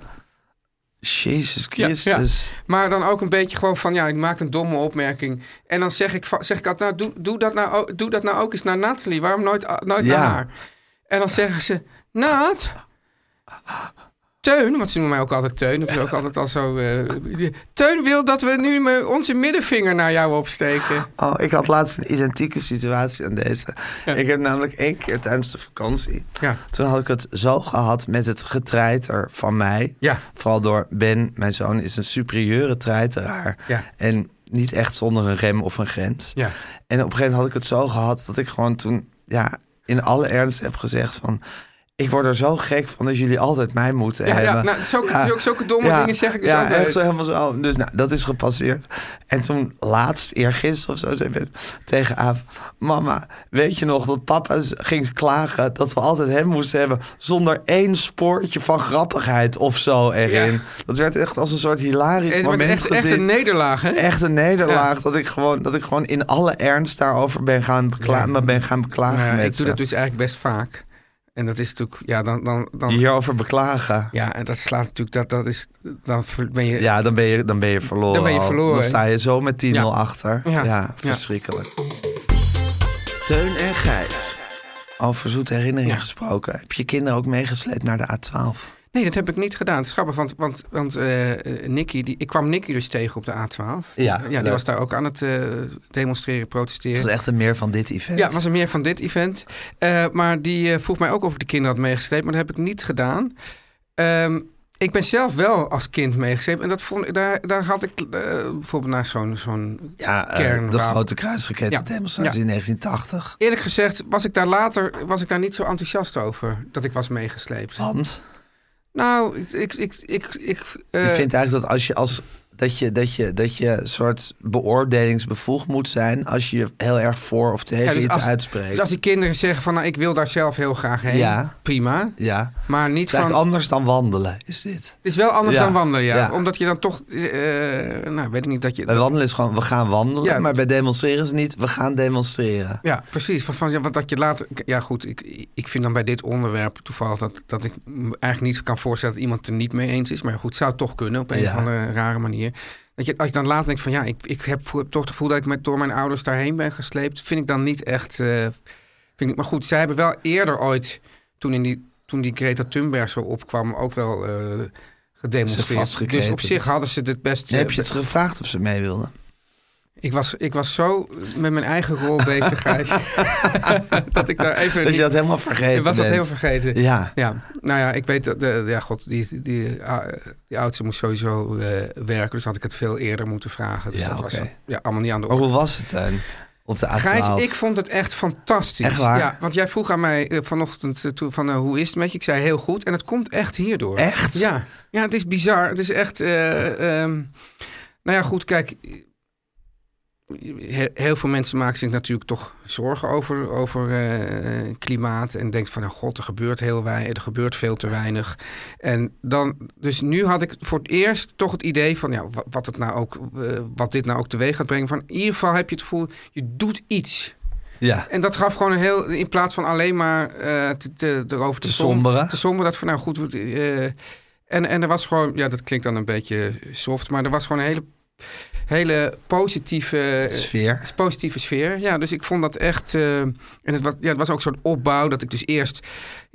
C: Jezus
D: Ja,
C: Christus.
D: Maar dan ook een beetje gewoon van, ja, ik maak een domme opmerking. En dan zeg ik, va- zeg ik altijd, nou, doe, doe, dat nou, ook- doe dat nou ook eens naar Nathalie. Waarom nooit, a- nooit
C: Ja.
D: naar haar? En dan zeggen ze, Nat, Teun, want ze noemen mij ook altijd Teun. Dat is ook altijd al zo... eh, Teun wil dat we nu me- onze middenvinger naar jou opsteken.
C: Oh, ik had laatst een identieke situatie aan deze. Ik heb namelijk één keer tijdens de vakantie.
D: Ja.
C: Toen had ik het zo gehad met het getreiter van mij.
D: Ja.
C: Vooral door Ben, mijn zoon, is een superieure treiteraar.
D: Ja.
C: En niet echt zonder een rem of een grens.
D: Ja.
C: En op een gegeven moment had ik het zo gehad dat ik gewoon toen ja, in alle ernst heb gezegd van... Ik word er zo gek van dat jullie altijd mij moeten
D: Ja, ja,
C: hebben.
D: nou, zulke- zulke- zulke domme dingen zeg ik dus
C: ja,
D: altijd.
C: echt zo helemaal zo. Dus nou, dat is gepasseerd. En toen laatst, eergisteren of zo, zei Ben tegen Aaf... Mama, weet je nog dat papa z- ging klagen dat we altijd hem moesten hebben... zonder één spoortje van grappigheid of zo erin.
D: Ja.
C: Dat werd echt als een soort hilarisch
D: Het wordt
C: moment
D: echt, echt
C: gezien.
D: een nederlaag, hè?
C: Echt een nederlaag.
D: Ja.
C: Dat, ik gewoon, dat ik gewoon in alle ernst daarover ben gaan, bekla
D: Ja.
C: me ben gaan beklagen
D: Nou ja,
C: met
D: ik doe
C: ze.
D: dat dus eigenlijk best vaak. En dat is natuurlijk, ja, dan. dan, dan
C: Hierover beklagen.
D: ja, en dat slaat natuurlijk, dat, dat is. Dan ver- ben je.
C: Ja, dan ben je, dan ben je verloren.
D: Dan ben je
C: al.
D: verloren.
C: Dan sta je zo met 10-0
D: Ja.
C: achter. Ja,
D: Ja.
C: verschrikkelijk. Teun en Gijs. Over zoete herinneringen
D: Ja.
C: gesproken. Heb je kinderen ook meegesleept naar de A12?
D: Nee, dat heb ik niet gedaan. Het is grappig, want, want, want eh, eh, Nicky, die, ik kwam Nicky dus tegen op de A12.
C: Ja,
D: ja
C: leuk.
D: die was daar ook aan het eh, demonstreren, protesteren.
C: Dat is echt een meer van dit event.
D: Ja, het was er meer van dit event. Eh, maar die eh, vroeg mij ook of ik de kinderen had meegesleept. Maar dat heb ik niet gedaan. Ehm, ik ben zelf wel als kind meegesleept. En dat vond, ik- daar, daar had ik eh, bijvoorbeeld naar zo'n... zo'n
C: Ja, eh, de
D: Kernwapen.
C: grote kruisrakettendemonstratie
D: Ja.
C: in 1980.
D: Eerlijk gezegd was ik daar later was ik daar niet zo enthousiast over. Dat ik was meegesleept.
C: Want
D: Nou, ik... ik, ik, ik, ik eh,
C: je vindt eigenlijk dat als je als... Dat je, dat, je, dat je een soort beoordelingsbevoegd moet zijn als je je heel erg voor of tegen
D: ja, dus
C: iets
D: als,
C: uitspreekt.
D: dus als die kinderen zeggen van... Nou, ik wil daar zelf heel graag heen.
C: Ja.
D: Prima.
C: Ja,
D: Maar
C: het
D: niet
C: is eigenlijk
D: van...
C: anders dan wandelen, is dit.
D: Het is wel anders
C: Ja,
D: dan wandelen, ja.
C: ja.
D: Omdat je dan toch... eh, nou, weet ik niet dat je...
C: Bij wandelen is gewoon, we gaan wandelen.
D: Ja.
C: Maar bij demonstreren is het niet, we gaan demonstreren.
D: Ja, precies. Wat, van, ja, wat dat je later. Ja, goed. Ik, ik vind dan bij dit onderwerp toevallig dat, dat ik me eigenlijk niet kan voorstellen dat iemand het er niet mee eens is. Maar goed, zou het toch kunnen op een
C: Ja.
D: of andere rare manier. Dat je, als je dan later denkt van ja, ik, ik heb vo- toch het gevoel dat ik met, door mijn ouders daarheen ben gesleept. Vind ik dan niet echt. eh, vind ik, maar goed, zij hebben wel eerder ooit, toen, in die, toen die Greta Thunberg zo opkwam, ook wel eh,
C: Zich
D: gedemonstreerd.
C: vastgeketend.
D: Dus op zich hadden ze het best.
C: heb je
D: eh,
C: het gevraagd of ze mee wilden?
D: Ik was, ik was zo met mijn eigen rol bezig, Gijs. dat ik daar even...
C: Dat
D: niet-
C: Dus je dat helemaal vergeten
D: ik was dat
C: bent.
D: heel vergeten.
C: Ja.
D: Ja, nou ja, ik weet dat, de, ja god, die, die, ah, die oudste moest sowieso eh, werken, dus had ik het veel eerder moeten vragen. Dus
C: Ja,
D: dat was
C: oké.
D: ja, allemaal niet aan de
C: Maar
D: orde.
C: hoe was het dan op de A12?
D: Oh. Gijs, ik vond het echt fantastisch.
C: Echt waar?
D: Ja, want jij vroeg aan mij eh, vanochtend eh, toen van eh, hoe is het met je? Ik zei heel goed en het komt echt hierdoor.
C: Echt?
D: Ja, ja het is bizar. Het is echt, eh, ehm, nou ja goed, kijk, he- heel veel mensen maken zich natuurlijk toch zorgen over, over eh, klimaat. En denken van, nou god, er gebeurt heel weinig, er gebeurt veel te weinig. En dan, dus nu had ik voor het eerst toch het idee van, ja, wa- wat, het nou ook, eh, wat dit nou ook teweeg gaat brengen. Van, in ieder geval heb je het gevoel, je doet iets.
C: Ja.
D: En dat gaf gewoon een heel, in plaats van alleen maar eh, te, te- erover te,
C: Te
D: som-
C: somberen.
D: Te somberen, dat van, nou goed, we- eh, en, en er was gewoon, ja, dat klinkt dan een beetje soft, maar er was gewoon een hele, hele positieve... eh,
C: Sfeer.
D: is positieve sfeer. Ja, dus ik vond dat echt. eh, en het was, ja, het was ook zo'n opbouw dat ik dus eerst.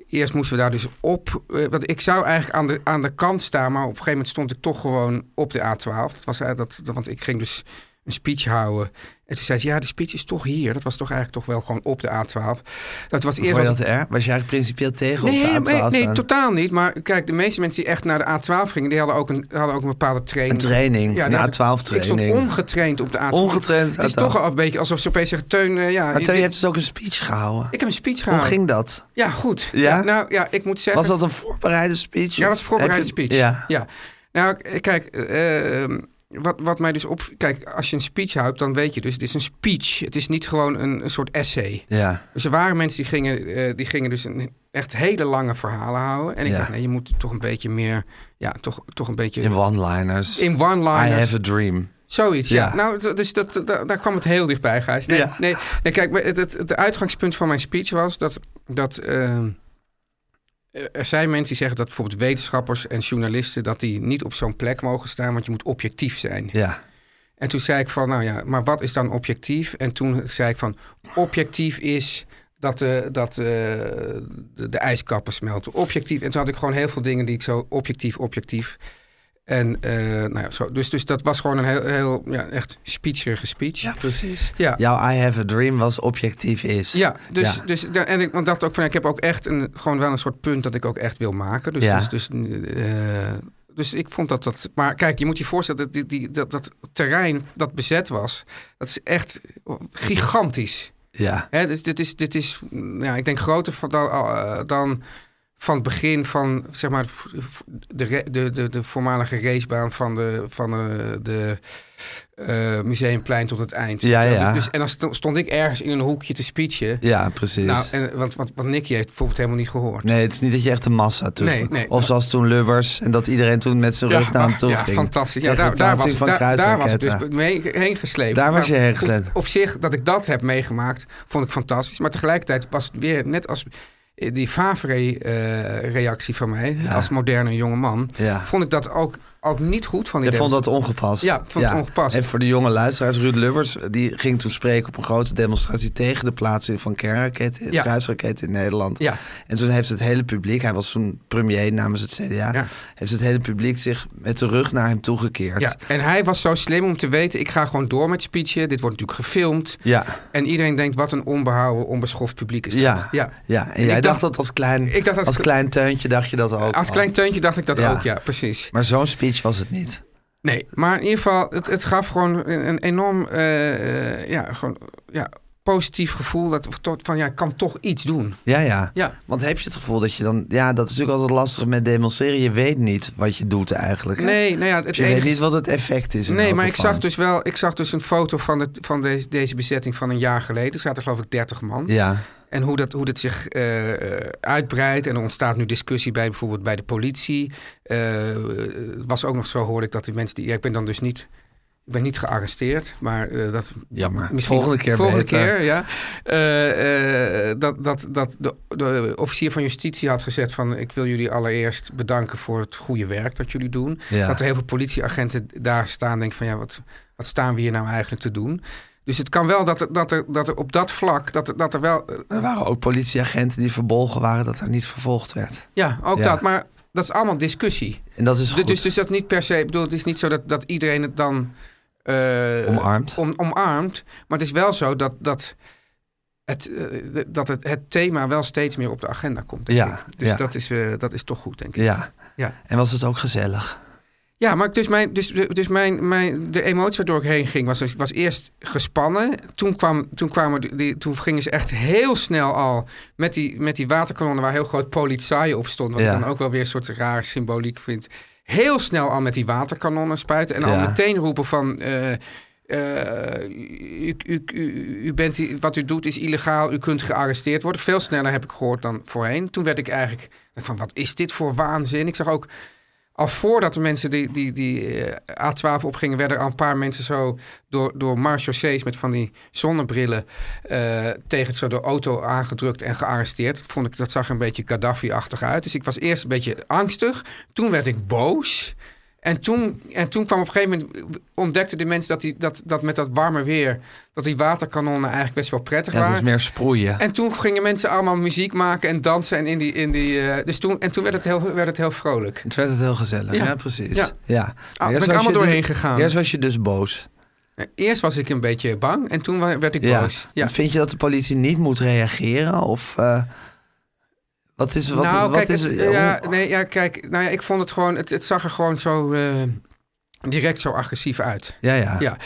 D: Eerst moesten we daar dus op. eh, want ik zou eigenlijk aan de, aan de kant staan, maar op een gegeven moment stond ik toch gewoon op de A12. Dat was, eigenlijk dat, dat- want ik ging dus een speech houden. En toen zei ze: Ja, de speech is toch hier. Dat was toch eigenlijk toch wel gewoon op de A12. Dat was eerst.
C: Vond je
D: was-
C: dat erg? Was je eigenlijk principieel tegen
D: Nee,
C: op de A12
D: nee, nee,
C: staan?
D: totaal niet. Maar kijk, de meeste mensen die echt naar de A12 gingen, die hadden ook een, hadden ook een bepaalde
C: Een
D: training.
C: training,
D: die
C: een
D: hadden-
C: A12
D: nou, Ik stond
C: training.
D: ongetraind op de A12.
C: Ongetraind
D: Het is
C: A12.
D: toch al een beetje alsof ze opeens zeggen, Teun, eh, ja...
C: Maar
D: ik-
C: Teun, je hebt dus ook een speech gehouden.
D: Ik heb een speech
C: Hoe
D: gehouden.
C: ging dat?
D: Ja, goed.
C: Ja?
D: nou, ja, ik moet zeggen...
C: Was dat een voorbereide speech?
D: Ja, dat was een voorbereide
C: Heb je-
D: speech.
C: Ja.
D: Ja. Nou, k- kijk, ehm, wat, wat mij dus op... Kijk, als je een speech houdt, dan weet je dus, het is een speech. Het is niet gewoon een, een soort essay.
C: Ja.
D: Dus er waren mensen die gingen, eh, die gingen dus een, echt hele lange verhalen houden. En ik
C: Ja.
D: dacht, nee, je moet toch een beetje meer... Ja, toch, toch een beetje...
C: In one-liners. I
D: in one-liners.
C: have a dream.
D: Zoiets, ja.
C: Ja.
D: Nou, d- dus dat, d- daar kwam het heel dichtbij, Gijs. Nee,
C: Ja.
D: nee, nee kijk, maar het, het, het uitgangspunt van mijn speech was dat... dat ehm, er zijn mensen die zeggen dat bijvoorbeeld wetenschappers en journalisten... dat die niet op zo'n plek mogen staan, want je moet objectief zijn.
C: Ja.
D: En toen zei ik van, nou ja, maar wat is dan objectief? En toen zei ik van, objectief is dat, eh, dat eh, de, de ijskappen smelten. Objectief. En toen had ik gewoon heel veel dingen die ik zo objectief, objectief. En eh, nou ja, zo. Dus, dus dat was gewoon een heel, heel ja, echt speecherige speech.
C: Ja, precies.
D: Ja.
C: Jouw I have a dream was objectief is.
D: Ja, dus,
C: Ja.
D: dus da- en ik want dacht ook van, ja, ik heb ook echt een, gewoon wel een soort punt dat ik ook echt wil maken. Dus,
C: Ja.
D: dus, dus, eh, dus ik vond dat dat. Maar kijk, je moet je voorstellen dat die, die, dat, dat terrein dat bezet was, dat is echt gigantisch.
C: Ja.
D: Hè, dus dit is, dit is mm, ja, ik denk groter van, dan, eh, dan van het begin van zeg maar, v- v- de, re- de, de, de voormalige racebaan van de, van de, de eh, museumplein tot het eind.
C: Ja,
D: Dus-
C: ja.
D: Dus, en dan sto- stond ik ergens in een hoekje te speechen.
C: Ja, precies.
D: Nou, en, want, want, want Nicky heeft bijvoorbeeld helemaal niet gehoord.
C: Nee, het is niet dat je echt de massa toe.
D: Nee, nee.
C: Of zoals toen Lubbers en dat iedereen toen met zijn rug naar hem
D: ah,
C: toe
D: ja,
C: ging.
D: fantastisch. Ja,
C: Tegen
D: daar,
C: de
D: daar, was,
C: plaatsing
D: ik-
C: van
D: daar,
C: eh.
D: daar was ik dus
C: kruisraketten.
D: mee, heen geslepen.
C: Daar was
D: Nou,
C: je heen
D: goed,
C: geslepen.
D: Op zich, dat ik dat heb meegemaakt, vond ik fantastisch. Maar tegelijkertijd was het weer net als eh, die Favre-reactie van mij, als moderne jonge man,
C: Ja.
D: vond ik dat ook, ook niet goed van die
C: Ik vond
D: demonstratie.
C: dat ongepast.
D: Ja, ik vond het ongepast.
C: En voor de jonge luisteraars, Ruud Lubbers, die ging toen spreken op een grote demonstratie tegen de plaatsing van kernraketten,
D: Ja.
C: kruisraketten in Nederland.
D: Ja.
C: En toen heeft het hele publiek, hij was toen premier namens het CDA,
D: Ja.
C: heeft het hele publiek zich met de rug naar hem toegekeerd.
D: Ja, en hij was zo slim om te weten, ik ga gewoon door met speechen. Dit wordt natuurlijk gefilmd.
C: Ja.
D: En iedereen denkt, wat een onbehouden, onbeschoft publiek is dat.
C: Ja.
D: ja.
C: Ja. En,
D: En
C: jij
D: ik
C: dacht,
D: dacht-
C: dat als klein,
D: Ik dacht
C: als,
D: als-
C: klein teuntje, dacht je dat ook.
D: Als
C: al.
D: klein teuntje dacht ik dat
C: Ja.
D: ook, ja, precies.
C: Maar zo'n speech was het niet.
D: Nee, maar in ieder geval, het, het gaf gewoon een, een enorm eh, eh, ja, gewoon, ja, positief gevoel dat, tot- van ja, ik kan toch iets doen.
C: Ja, ja.
D: Ja.
C: Want heb je het gevoel dat je dan... Ja, dat is natuurlijk altijd lastig met demonstreren. Je weet niet wat je doet eigenlijk. hè?
D: Nee, nou ja, het
C: Dus je weet
D: enige...
C: niet wat het effect is. in
D: Nee,
C: elk
D: maar ik
C: geval.
D: zag dus wel, ik zag dus een foto van, het, van deze, deze bezetting van een jaar geleden. Er zaten geloof ik 30 man.
C: Ja,
D: En hoe dat, hoe dat zich eh, eh, uitbreidt. En er ontstaat nu discussie bij bijvoorbeeld bij de politie. Eh, Het was ook nog zo, hoorde ik, dat die mensen die... Ja, ik ben dan dus niet... Ik ben niet gearresteerd, maar eh, dat...
C: Jammer. Volgende keer
D: Volgende
C: beter.
D: keer, ja. Eh, eh, dat dat, dat de, de officier van justitie had gezegd van... ik wil jullie allereerst bedanken voor het goede werk dat jullie doen.
C: Ja.
D: Dat er heel veel politieagenten daar staan en denken van... ja, wat, wat staan we hier nou eigenlijk te doen? Dus het kan wel dat er, dat er, dat er op dat vlak... dat er, dat er wel eh,
C: er waren ook politieagenten die verbolgen waren dat er niet vervolgd werd.
D: ja, ook
C: Ja.
D: dat. Maar dat is allemaal discussie.
C: En dat is
D: Dus,
C: goed.
D: dus, dus dat niet per se. Ik bedoel, het is niet zo dat, dat iedereen het dan eh,
C: Omarmd.
D: om- omarmd. Maar het is wel zo dat, dat, het, eh, dat het, het thema wel steeds meer op de agenda komt. Denk
C: Ja,
D: ik. Dus
C: ja.
D: dat, is, eh, dat is toch goed, denk ik.
C: Ja.
D: Ja.
C: En was het ook gezellig?
D: Ja, maar dus, mijn, dus, dus mijn, mijn, de emotie waardoor ik heen ging was, dus- was eerst gespannen. Toen, kwam, toen, kwamen de- die, toen gingen ze echt heel snel al met die, met die waterkanonnen waar heel groot politie op stond. Wat
C: Ja.
D: ik dan ook wel weer een soort rare symboliek vind. Heel snel al met die waterkanonnen spuiten. En al
C: Ja.
D: meteen roepen van... eh, eh, u, u, u, u bent, i- wat u doet is illegaal, u kunt gearresteerd worden. Veel sneller heb ik gehoord dan voorheen. Toen werd ik eigenlijk van wat is dit voor waanzin? Ik zag ook al voordat de mensen die, die, die eh, A12 opgingen, werden al een paar mensen zo door, door marechaussées met van die zonnebrillen eh, tegen het, zo de auto aangedrukt en gearresteerd. Dat, vond ik, dat zag er een beetje Gaddafi-achtig uit. Dus ik was eerst een beetje angstig. Toen werd ik boos. En toen, en toen kwam op een gegeven moment, ontdekten de mensen dat, die, dat, dat met dat warme weer, dat die waterkanonnen eigenlijk best wel prettig
C: Ja, het
D: waren.
C: was meer sproeien.
D: En toen gingen mensen allemaal muziek maken en dansen. En, in die, in die, eh, dus toen, en toen werd het heel, werd het heel vrolijk.
C: Het werd het heel gezellig. Ja,
D: Ja.
C: precies. Ja.
D: Ja. Ah,
C: Maar
D: ben
C: eerst
D: ik
C: was
D: allemaal
C: je
D: doorheen
C: dus-
D: gegaan.
C: Eerst was je dus boos.
D: Eerst was ik een beetje bang en toen wa- werd ik
C: Ja.
D: boos. Ja.
C: Want Vind je dat de politie niet moet reageren? Of eh, wat is... Wat,
D: nou,
C: wat
D: kijk,
C: is
D: het,
C: hoe-
D: ja, nee, ja, kijk, nou ja, ik vond het gewoon, het, het zag er gewoon zo eh, direct zo agressief uit.
C: ja, ja.
D: Ja,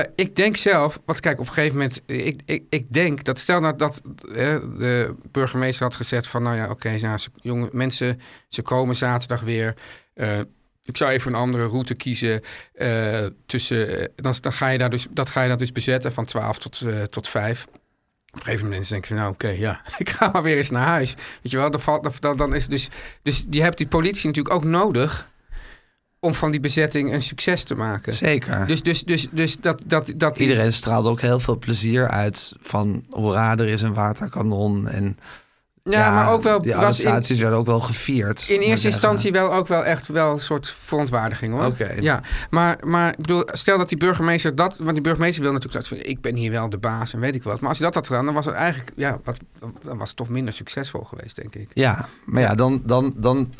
D: eh, ik denk zelf, want kijk, op een gegeven moment, ik, ik, ik denk dat stel nou dat eh, de burgemeester had gezegd van, nou ja, oké, nou, ze- jonge mensen, ze komen zaterdag weer. eh, ik zou even een andere route kiezen. eh, tussen, eh, dan, dan ga je daar dus, dat ga je dan dus bezetten van 12 tot, eh, tot 5. Op een gegeven moment denk je, nou oké, ja, ik ga maar weer eens naar huis. Weet je wel, dan, valt, dan, dan is het dus, dus je hebt die politie natuurlijk ook nodig om van die bezetting een succes te maken.
C: Zeker.
D: Dus, dus, dus, dus dat, dat, dat die-
C: Iedereen straalde ook heel veel plezier uit van hoera, er is een waterkanon. En
D: Ja, maar ook wel
C: die
D: was in,
C: arrestaties werden ook wel gevierd.
D: in
C: moet ik
D: eerste
C: zeggen.
D: instantie wel ook wel echt wel een soort verontwaardiging hoor.
C: Oké.
D: Ja, maar, maar ik bedoel, stel dat die burgemeester dat, want die burgemeester wil natuurlijk dat ik ben hier wel de baas en weet ik wat. Maar als je dat had gedaan, dan was het eigenlijk, ja, wat, dan was het toch minder succesvol geweest, denk ik.
C: Ja, maar ja, dan, dan, dan,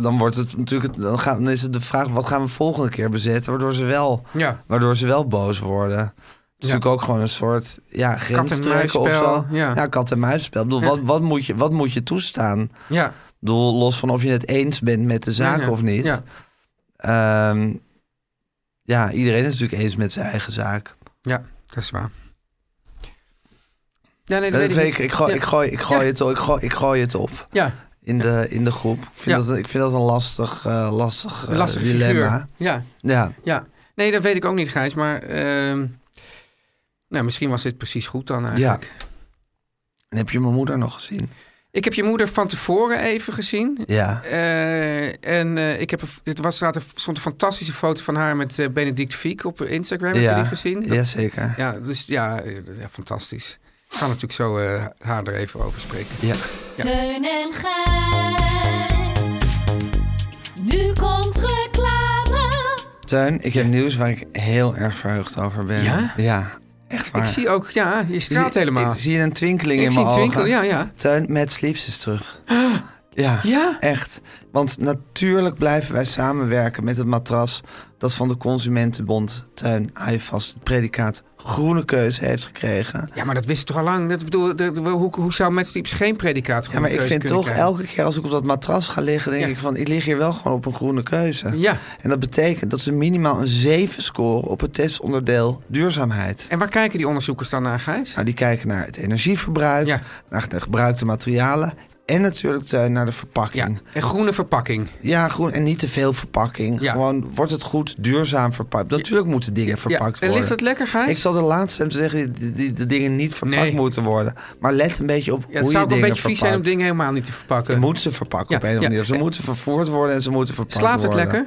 C: dan wordt het natuurlijk. Dan, gaan, dan is het de vraag: wat gaan we volgende keer bezetten? Waardoor ze wel,
D: Ja.
C: waardoor ze wel boos worden. Het is natuurlijk ook gewoon een soort ja, grens trekken of
D: muisspel,
C: zo.
D: ja.
C: kat en muisspel. Ik bedoel,
D: Ja.
C: Wat, wat, moet je, wat moet je toestaan? Ik
D: Ja.
C: bedoel, los van of je het eens bent met de zaak
D: Ja, ja.
C: of niet.
D: Ja.
C: Ehm, ja, iedereen is natuurlijk eens met zijn eigen zaak.
D: ja, dat is waar. Ja, nee,
C: Dat
D: dat weet ik
C: Eh, vind
D: niet.
C: ik, ik, gooi,
D: Ja.
C: ik, gooi, ik, gooi
D: Ja.
C: het, ik, gooi, ik gooi het op.
D: Ja,
C: in de, in de groep. Ik vind,
D: Ja.
C: dat, ik vind dat een lastig, eh, lastig, eh,
D: lastig
C: dilemma.
D: figuur. Ja,
C: Ja,
D: ja. Nee, dat weet ik ook niet, Gijs, maar ehm, nou, misschien was dit precies goed dan eigenlijk.
C: en heb je mijn moeder nog gezien?
D: Ik heb je moeder van tevoren even gezien.
C: Ja,
D: Eh, en eh, ik heb een, het was, er stond een fantastische foto van haar met eh, Benedict Fiek op Instagram. Heb
C: ja.
D: je die gezien? Dat-
C: Jazeker.
D: ja, dus ja, eh, ja, fantastisch. Ik ga natuurlijk zo eh, haar er even over spreken.
C: Ja.
E: Teun en Gijs. Nu komt reclame.
C: Tuin, ik heb nieuws waar ik heel erg verheugd over ben.
D: Ja?
C: echt waar.
D: Ik zie ook, ja, je straalt helemaal.
C: Ik zie een twinkeling
D: Ik
C: in
D: zie
C: mijn
D: een
C: ogen.
D: twinkel, ja, ja.
C: Tuin, Matt Sleeps is terug. Ja,
D: Ja?
C: echt. Want natuurlijk blijven wij samenwerken met het matras... dat van de Consumentenbond Tuin Haaivast het predicaat Groene Keuze heeft gekregen.
D: Ja, maar dat wist ik toch al lang. Dat bedoel, dat- hoe, hoe zou Matstieps geen predicaat
C: Ja, maar ik
D: keuze
C: vind
D: kunnen
C: toch
D: krijgen?
C: elke keer als ik op dat matras ga liggen, denk
D: Ja.
C: ik van ik lig hier wel gewoon op een groene keuze.
D: Ja.
C: En dat betekent dat ze minimaal een 7 scoren op het testonderdeel duurzaamheid.
D: En waar kijken die onderzoekers dan naar, Gijs?
C: Nou, die kijken naar het energieverbruik,
D: Ja.
C: naar de gebruikte materialen en natuurlijk Teun, naar de
D: Ja,
C: verpakking. Ja.
D: en groene verpakking.
C: groen en niet te veel verpakking.
D: Ja.
C: Gewoon wordt het goed duurzaam verpakt. Natuurlijk moeten dingen verpakt
D: ja. En
C: worden.
D: ligt het lekker, Gijs?
C: Ik zal de laatste hem zeggen die, die de dingen niet verpakt
D: Nee.
C: moeten worden. Maar let een beetje op
D: Ja, het
C: hoe
D: zou ook
C: je
D: een
C: dingen
D: beetje vies zijn om
C: verpakt.
D: dingen helemaal niet te verpakken.
C: Je moet ze verpakken op
D: Ja,
C: een of andere
D: ja.
C: manier. Ze moeten vervoerd worden en ze moeten verpakt
D: Slaapt het
C: worden.
D: lekker?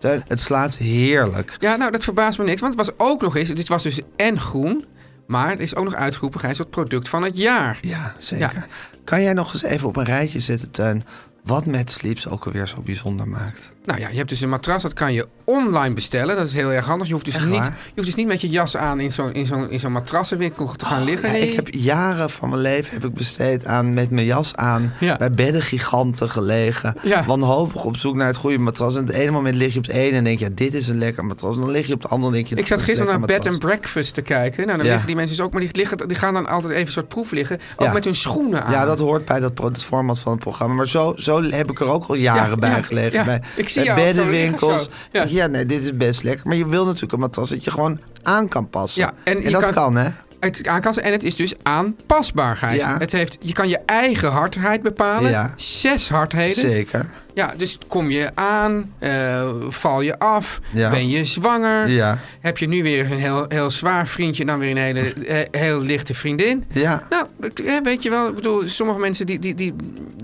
C: lekker? Het slaapt heerlijk.
D: Ja, nou, dat verbaast me niks. Want het was ook nog eens, dit was dus en groen, maar het is ook nog uitgeroepen, Gijs, tot product van het jaar.
C: Ja, zeker. Kan jij nog eens even op een rijtje zetten, Tuin, wat met Sleeps ook alweer zo bijzonder maakt?
D: Nou ja, je hebt dus een matras, dat kan je online bestellen. Dat is heel erg handig. Je hoeft dus,
C: Echt
D: niet,
C: waar?
D: je hoeft dus niet met je jas aan in zo'n in zo'n in zo'n matrassenwinkel te gaan liggen.
C: Ja,
D: Oh, Nee.
C: Oh, ik heb jaren van mijn leven heb ik besteed aan met mijn jas aan
D: Ja.
C: bij beddengiganten gelegen.
D: Ja.
C: Wanhopig op zoek naar het goede matras. En op het ene moment lig je op het ene en denk je, ja, dit is een lekker matras. En dan lig je op het andere en denk je,
D: Ik
C: dit
D: zat
C: is een
D: gisteren naar
C: lekker
D: bed and
C: matras.
D: breakfast te kijken. Nou, dan
C: Ja.
D: liggen die mensen dus ook, maar die, liggen, die gaan dan altijd even een soort proef liggen. Ook
C: Ja.
D: met hun schoenen aan.
C: Ja, dat hoort bij dat pro- het format van het programma. Maar zo, zo heb ik er ook al jaren
D: Ja,
C: bij
D: ja,
C: gelegen.
D: ja.
C: Bij,
D: Ik zie
C: bij
D: jou al zo
C: beddenwinkels.
D: liggen, zo. Ja.
C: ja, nee, dit is best lekker. Maar je wil natuurlijk een matras dat je gewoon aan kan passen.
D: Ja, en je
C: dat
D: kan-
C: kan, hè?
D: Het aankassen en het is dus aanpasbaarheid.
C: Ja.
D: Het heeft, je kan je eigen hardheid bepalen.
C: Ja.
D: Zes hardheden.
C: Zeker.
D: Ja, dus kom je aan, eh, val je af,
C: Ja.
D: ben je zwanger,
C: Ja.
D: heb je nu weer een heel, heel zwaar vriendje en dan weer een hele eh, heel lichte vriendin.
C: Ja.
D: Nou, ik- eh, weet je wel, ik bedoel, sommige mensen die, die, die,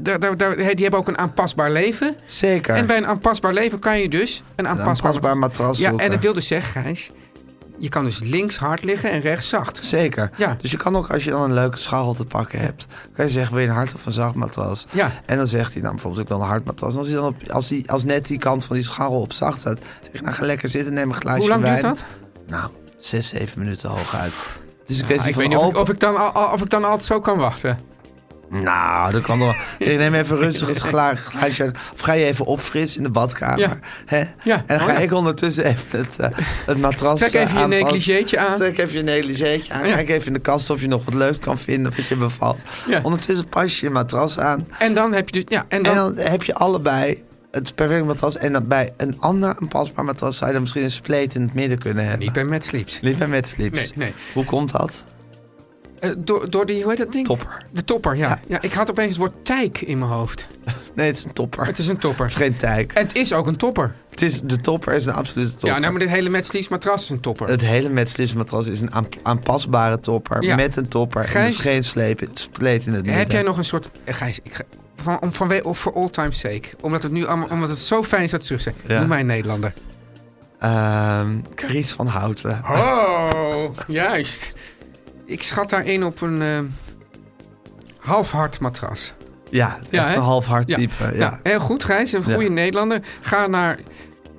D: daar, daar, daar- die hebben ook een aanpasbaar leven.
C: Zeker.
D: En bij een aanpasbaar leven kan je dus een aanpasbaar,
C: aanpasbaar matras
D: Ja,
C: zoeken.
D: en dat wil dus zeggen, Gijs, je kan dus links hard liggen en rechts zacht.
C: Zeker.
D: Ja.
C: Dus je kan ook, als je dan een leuke scharrel te pakken hebt, kan je zeggen: wil je een hard of een zacht matras?
D: Ja.
C: En dan zegt hij, nou bijvoorbeeld, ik wil een hard matras. En als, hij dan op, als, die, als net die kant van die scharrel op zacht staat, zeg je: nou ga lekker zitten, neem een glaasje
D: Hoe lang
C: wijn.
D: duurt dat?
C: Nou, zes, zeven minuten hooguit. Het is een kwestie
D: Ah, ik
C: van
D: weet niet of ik,
C: open-
D: of, ik dan, al- al- of ik dan altijd zo kan wachten.
C: Nou, dat kan wel. Ik neem even rustig eens een gla- glaasje. uit. Of ga je even opfrissen in de badkamer.
D: Ja.
C: Hè?
D: Ja.
C: En dan ga
D: Oh, ja.
C: ik ondertussen even het, eh, het matras
D: Trek
C: eh,
D: even je
C: aanpassen.
D: negligeetje aan.
C: Trek even je negligeetje aan. Kijk even in de kast of je nog wat leuks kan vinden. Wat je bevalt.
D: Ja.
C: Ondertussen pas je je matras aan.
D: En dan heb je dus, ja, en dan,
C: En dan heb je allebei het perfecte matras. En dan bij een ander, een pasbaar matras, zou je dan misschien een spleet in het midden kunnen hebben.
D: niet bij Mad Sleeps.
C: Niet bij met slips.
D: Nee, nee.
C: Hoe komt dat?
D: Eh, door, door die, hoe heet dat ding?
C: Topper.
D: De topper, ja. ja.
C: Ja.
D: ik had opeens het woord tijk in mijn hoofd.
C: Nee, het is een topper.
D: Het is een topper.
C: Het is geen tijk.
D: En het is ook een topper.
C: Het is, de topper is een absolute topper. Eh,
D: Ja, nou, maar dit hele Mad Sleeps matras is een topper.
C: Het hele matras is een aan- aanpasbare topper.
D: Ja.
C: Met een topper.
D: Gijs-
C: en dus geen sleep, spleet in het midden.
D: heb jij nog een soort... eh, Gijs, ik ga, van, om, vanwe- of voor all time's sake. Omdat het nu allemaal, omdat het zo fijn is dat ze terug zijn.
C: Ja.
D: Noem mij een Nederlander.
C: Ehm, Carice van Houten.
D: Oh, juist. Ik schat daarin op een eh, halfhard matras.
C: Ja,
D: Ja,
C: echt
D: hè?
C: een half hard
D: Ja.
C: type. Ja.
D: Nou, heel goed, Gijs. Een goede
C: Ja.
D: Nederlander. Ga naar...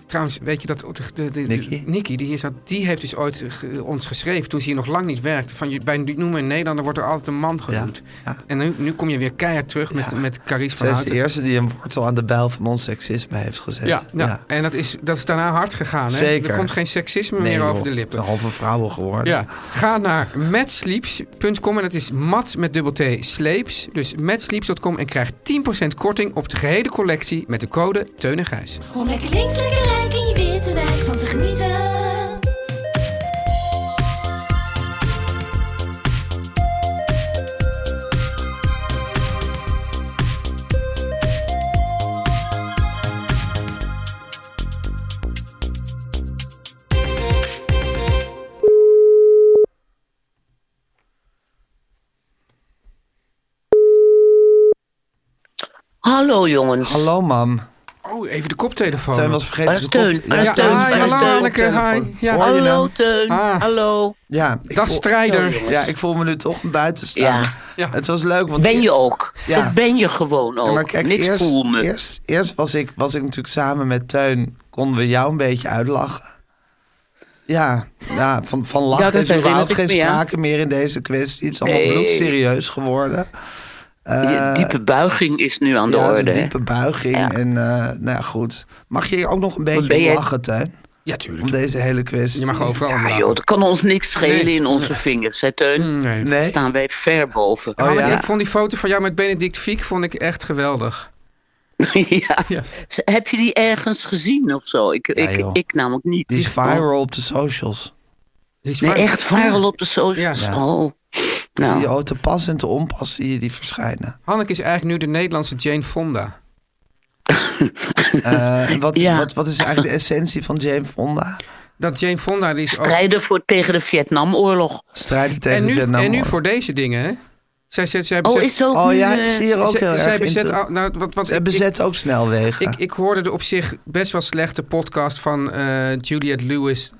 D: Trouwens, weet je dat... De, de, de-
C: Nicky?
D: Nicky, die hier zat, die heeft dus ooit eh, ge- ons geschreven... toen ze hier nog lang niet werkte. Van, je, bij noemen een Nederlander wordt er altijd een man genoemd.
C: Ja.
D: En nu, nu kom je weer keihard terug met, met Carice van
C: Zij is de
D: Houten.
C: eerste die een wortel aan de bijl van ons seksisme heeft gezet.
D: Ja, ja. en dat is, dat is daarna hard gegaan. Hè?
C: Zeker.
D: Er komt geen seksisme
C: Nee,
D: meer
C: joh,
D: over de lippen.
C: Een halve vrouw geworden.
D: Ja. Ga naar matsleeps.com en dat is mat met dubbel T sleeps. Dus matsleeps.com en krijg 10% korting op de gehele collectie met de code Teun en Gijs.
E: Om lekker links, lekker rijk in je witte wijk van te genieten.
F: Hallo jongens.
C: Hallo, mam.
D: Oh, even de koptelefoon.
C: Teun was vergeten
F: Waar is
C: zijn
F: Teun?
C: kop-
F: Waar is
D: Ja,
F: Teun?
D: hi,
F: Waar is
D: hallo
F: Teun?
D: Anneke, hi. Ja.
C: Hoor je
F: Hallo
C: hem?
F: Teun.
D: Ah.
F: Hallo.
C: Ja, ik
D: Dag
C: voel-
F: Zo,
D: strijder.
F: jongen.
C: Ja, ik voel me nu toch een buitenstaander.
F: Ja.
D: Ja.
C: Het was leuk, want
F: Ben je ook.
C: Ja.
F: Dat ben je gewoon ook.
C: Ja, maar kijk,
F: Niks
C: eerst,
F: voel me.
C: eerst, eerst was, ik, was ik natuurlijk samen met Teun, konden we jou een beetje uitlachen. Ja, ja van, van lachen
F: dat
C: is überhaupt
F: herinner
C: geen
F: ik me, ja.
C: sprake meer in deze kwestie. Het is allemaal
F: Nee.
C: bloedserieus geworden. Eh,
F: Je diepe buiging is nu aan de
C: ja,
F: orde.
C: een
F: hè?
C: diepe buiging.
F: Ja.
C: En eh, nou ja, goed. Mag je hier ook nog een beetje
F: ben
C: om
F: jij-
C: lachen, Teun?
D: Ja,
C: Om
D: tuurlijk.
C: deze hele kwestie.
D: Je mag overal
F: Ja
D: om
F: joh,
D: lachen.
F: dat kan ons niks schelen
D: Nee.
F: in onze vingers, hè Teun?
D: Mm, Nee.
F: Daar
C: Nee?
F: staan wij ver boven.
C: Oh,
D: Hanneke,
C: ja.
D: ik vond die foto van jou met Benedict Fiek vond ik echt geweldig.
F: ja.
D: Ja.
F: Z- Heb je die ergens gezien of zo? Ik, ik,
C: joh.
F: ik namelijk niet. Dus-
C: Die is viral op de socials.
D: Die is
F: Nee,
D: fijn.
F: echt viral
D: Ja.
F: op de socials.
D: Ja.
F: Oh.
C: Zie je
F: Nou,
C: ook te pas en te onpas zie je die verschijnen.
D: Hanneke is eigenlijk nu de Nederlandse Jane Fonda.
C: Eh, en wat, is,
F: Ja.
C: wat, wat is eigenlijk de essentie van Jane Fonda?
D: Dat Jane Fonda die is ook...
F: strijden voor, tegen de Vietnamoorlog.
C: Strijden tegen
D: En nu,
C: Vietnam.
D: en nu voor deze dingen, hè? Zij, zij, zij
F: Oh,
D: bezet-
F: is ook
C: Oh
F: nu,
C: ja,
F: eh,
C: ik zie er ook
D: zij-
C: heel
D: zij
C: erg in
D: bezet
C: terug.
D: al- nou, wat, wat,
C: Ze
D: ik- ik-
C: bezet ook snelwegen.
D: Ik, ik hoorde de op zich best wel slechte podcast van eh, Juliette Lewis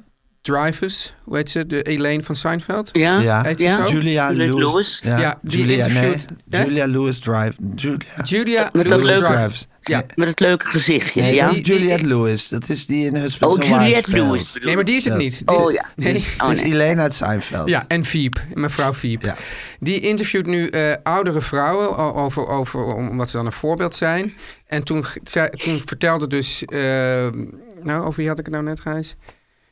D: Dreyfus. Hoe heet ze? De Elaine van Seinfeld.
F: Ja?
C: ja.
D: Heet ze zo?
C: Julia
F: Juliette
C: Lewis.
F: Lewis?
D: Ja, die interviewt- hè?
C: Julia Lewis Drive. Julia.
D: Julia
F: Met dat
D: Lewis
F: leuke-
D: Dreyfus.
C: Dreyfus.
D: Ja.
F: met het leuke gezichtje.
C: Nee,
F: ja?
C: dat is Juliette Lewis. Dat is die in Husbands
F: oh,
C: and Wives
F: Juliette
C: speelt.
F: Lewis. bedoel
D: Nee, maar die is het
C: Ja.
D: niet. Die is-
F: Oh ja.
C: Het is, het
F: Oh,
C: is
F: nee.
C: Elaine uit Seinfeld.
D: Ja, en Fiep, mevrouw Fiep.
C: Ja.
D: Die interviewt nu eh, oudere vrouwen o- over, over, om- omdat ze dan een voorbeeld zijn. En toen, g- zei, toen vertelde dus, eh, nou over wie had ik het nou net Gijs?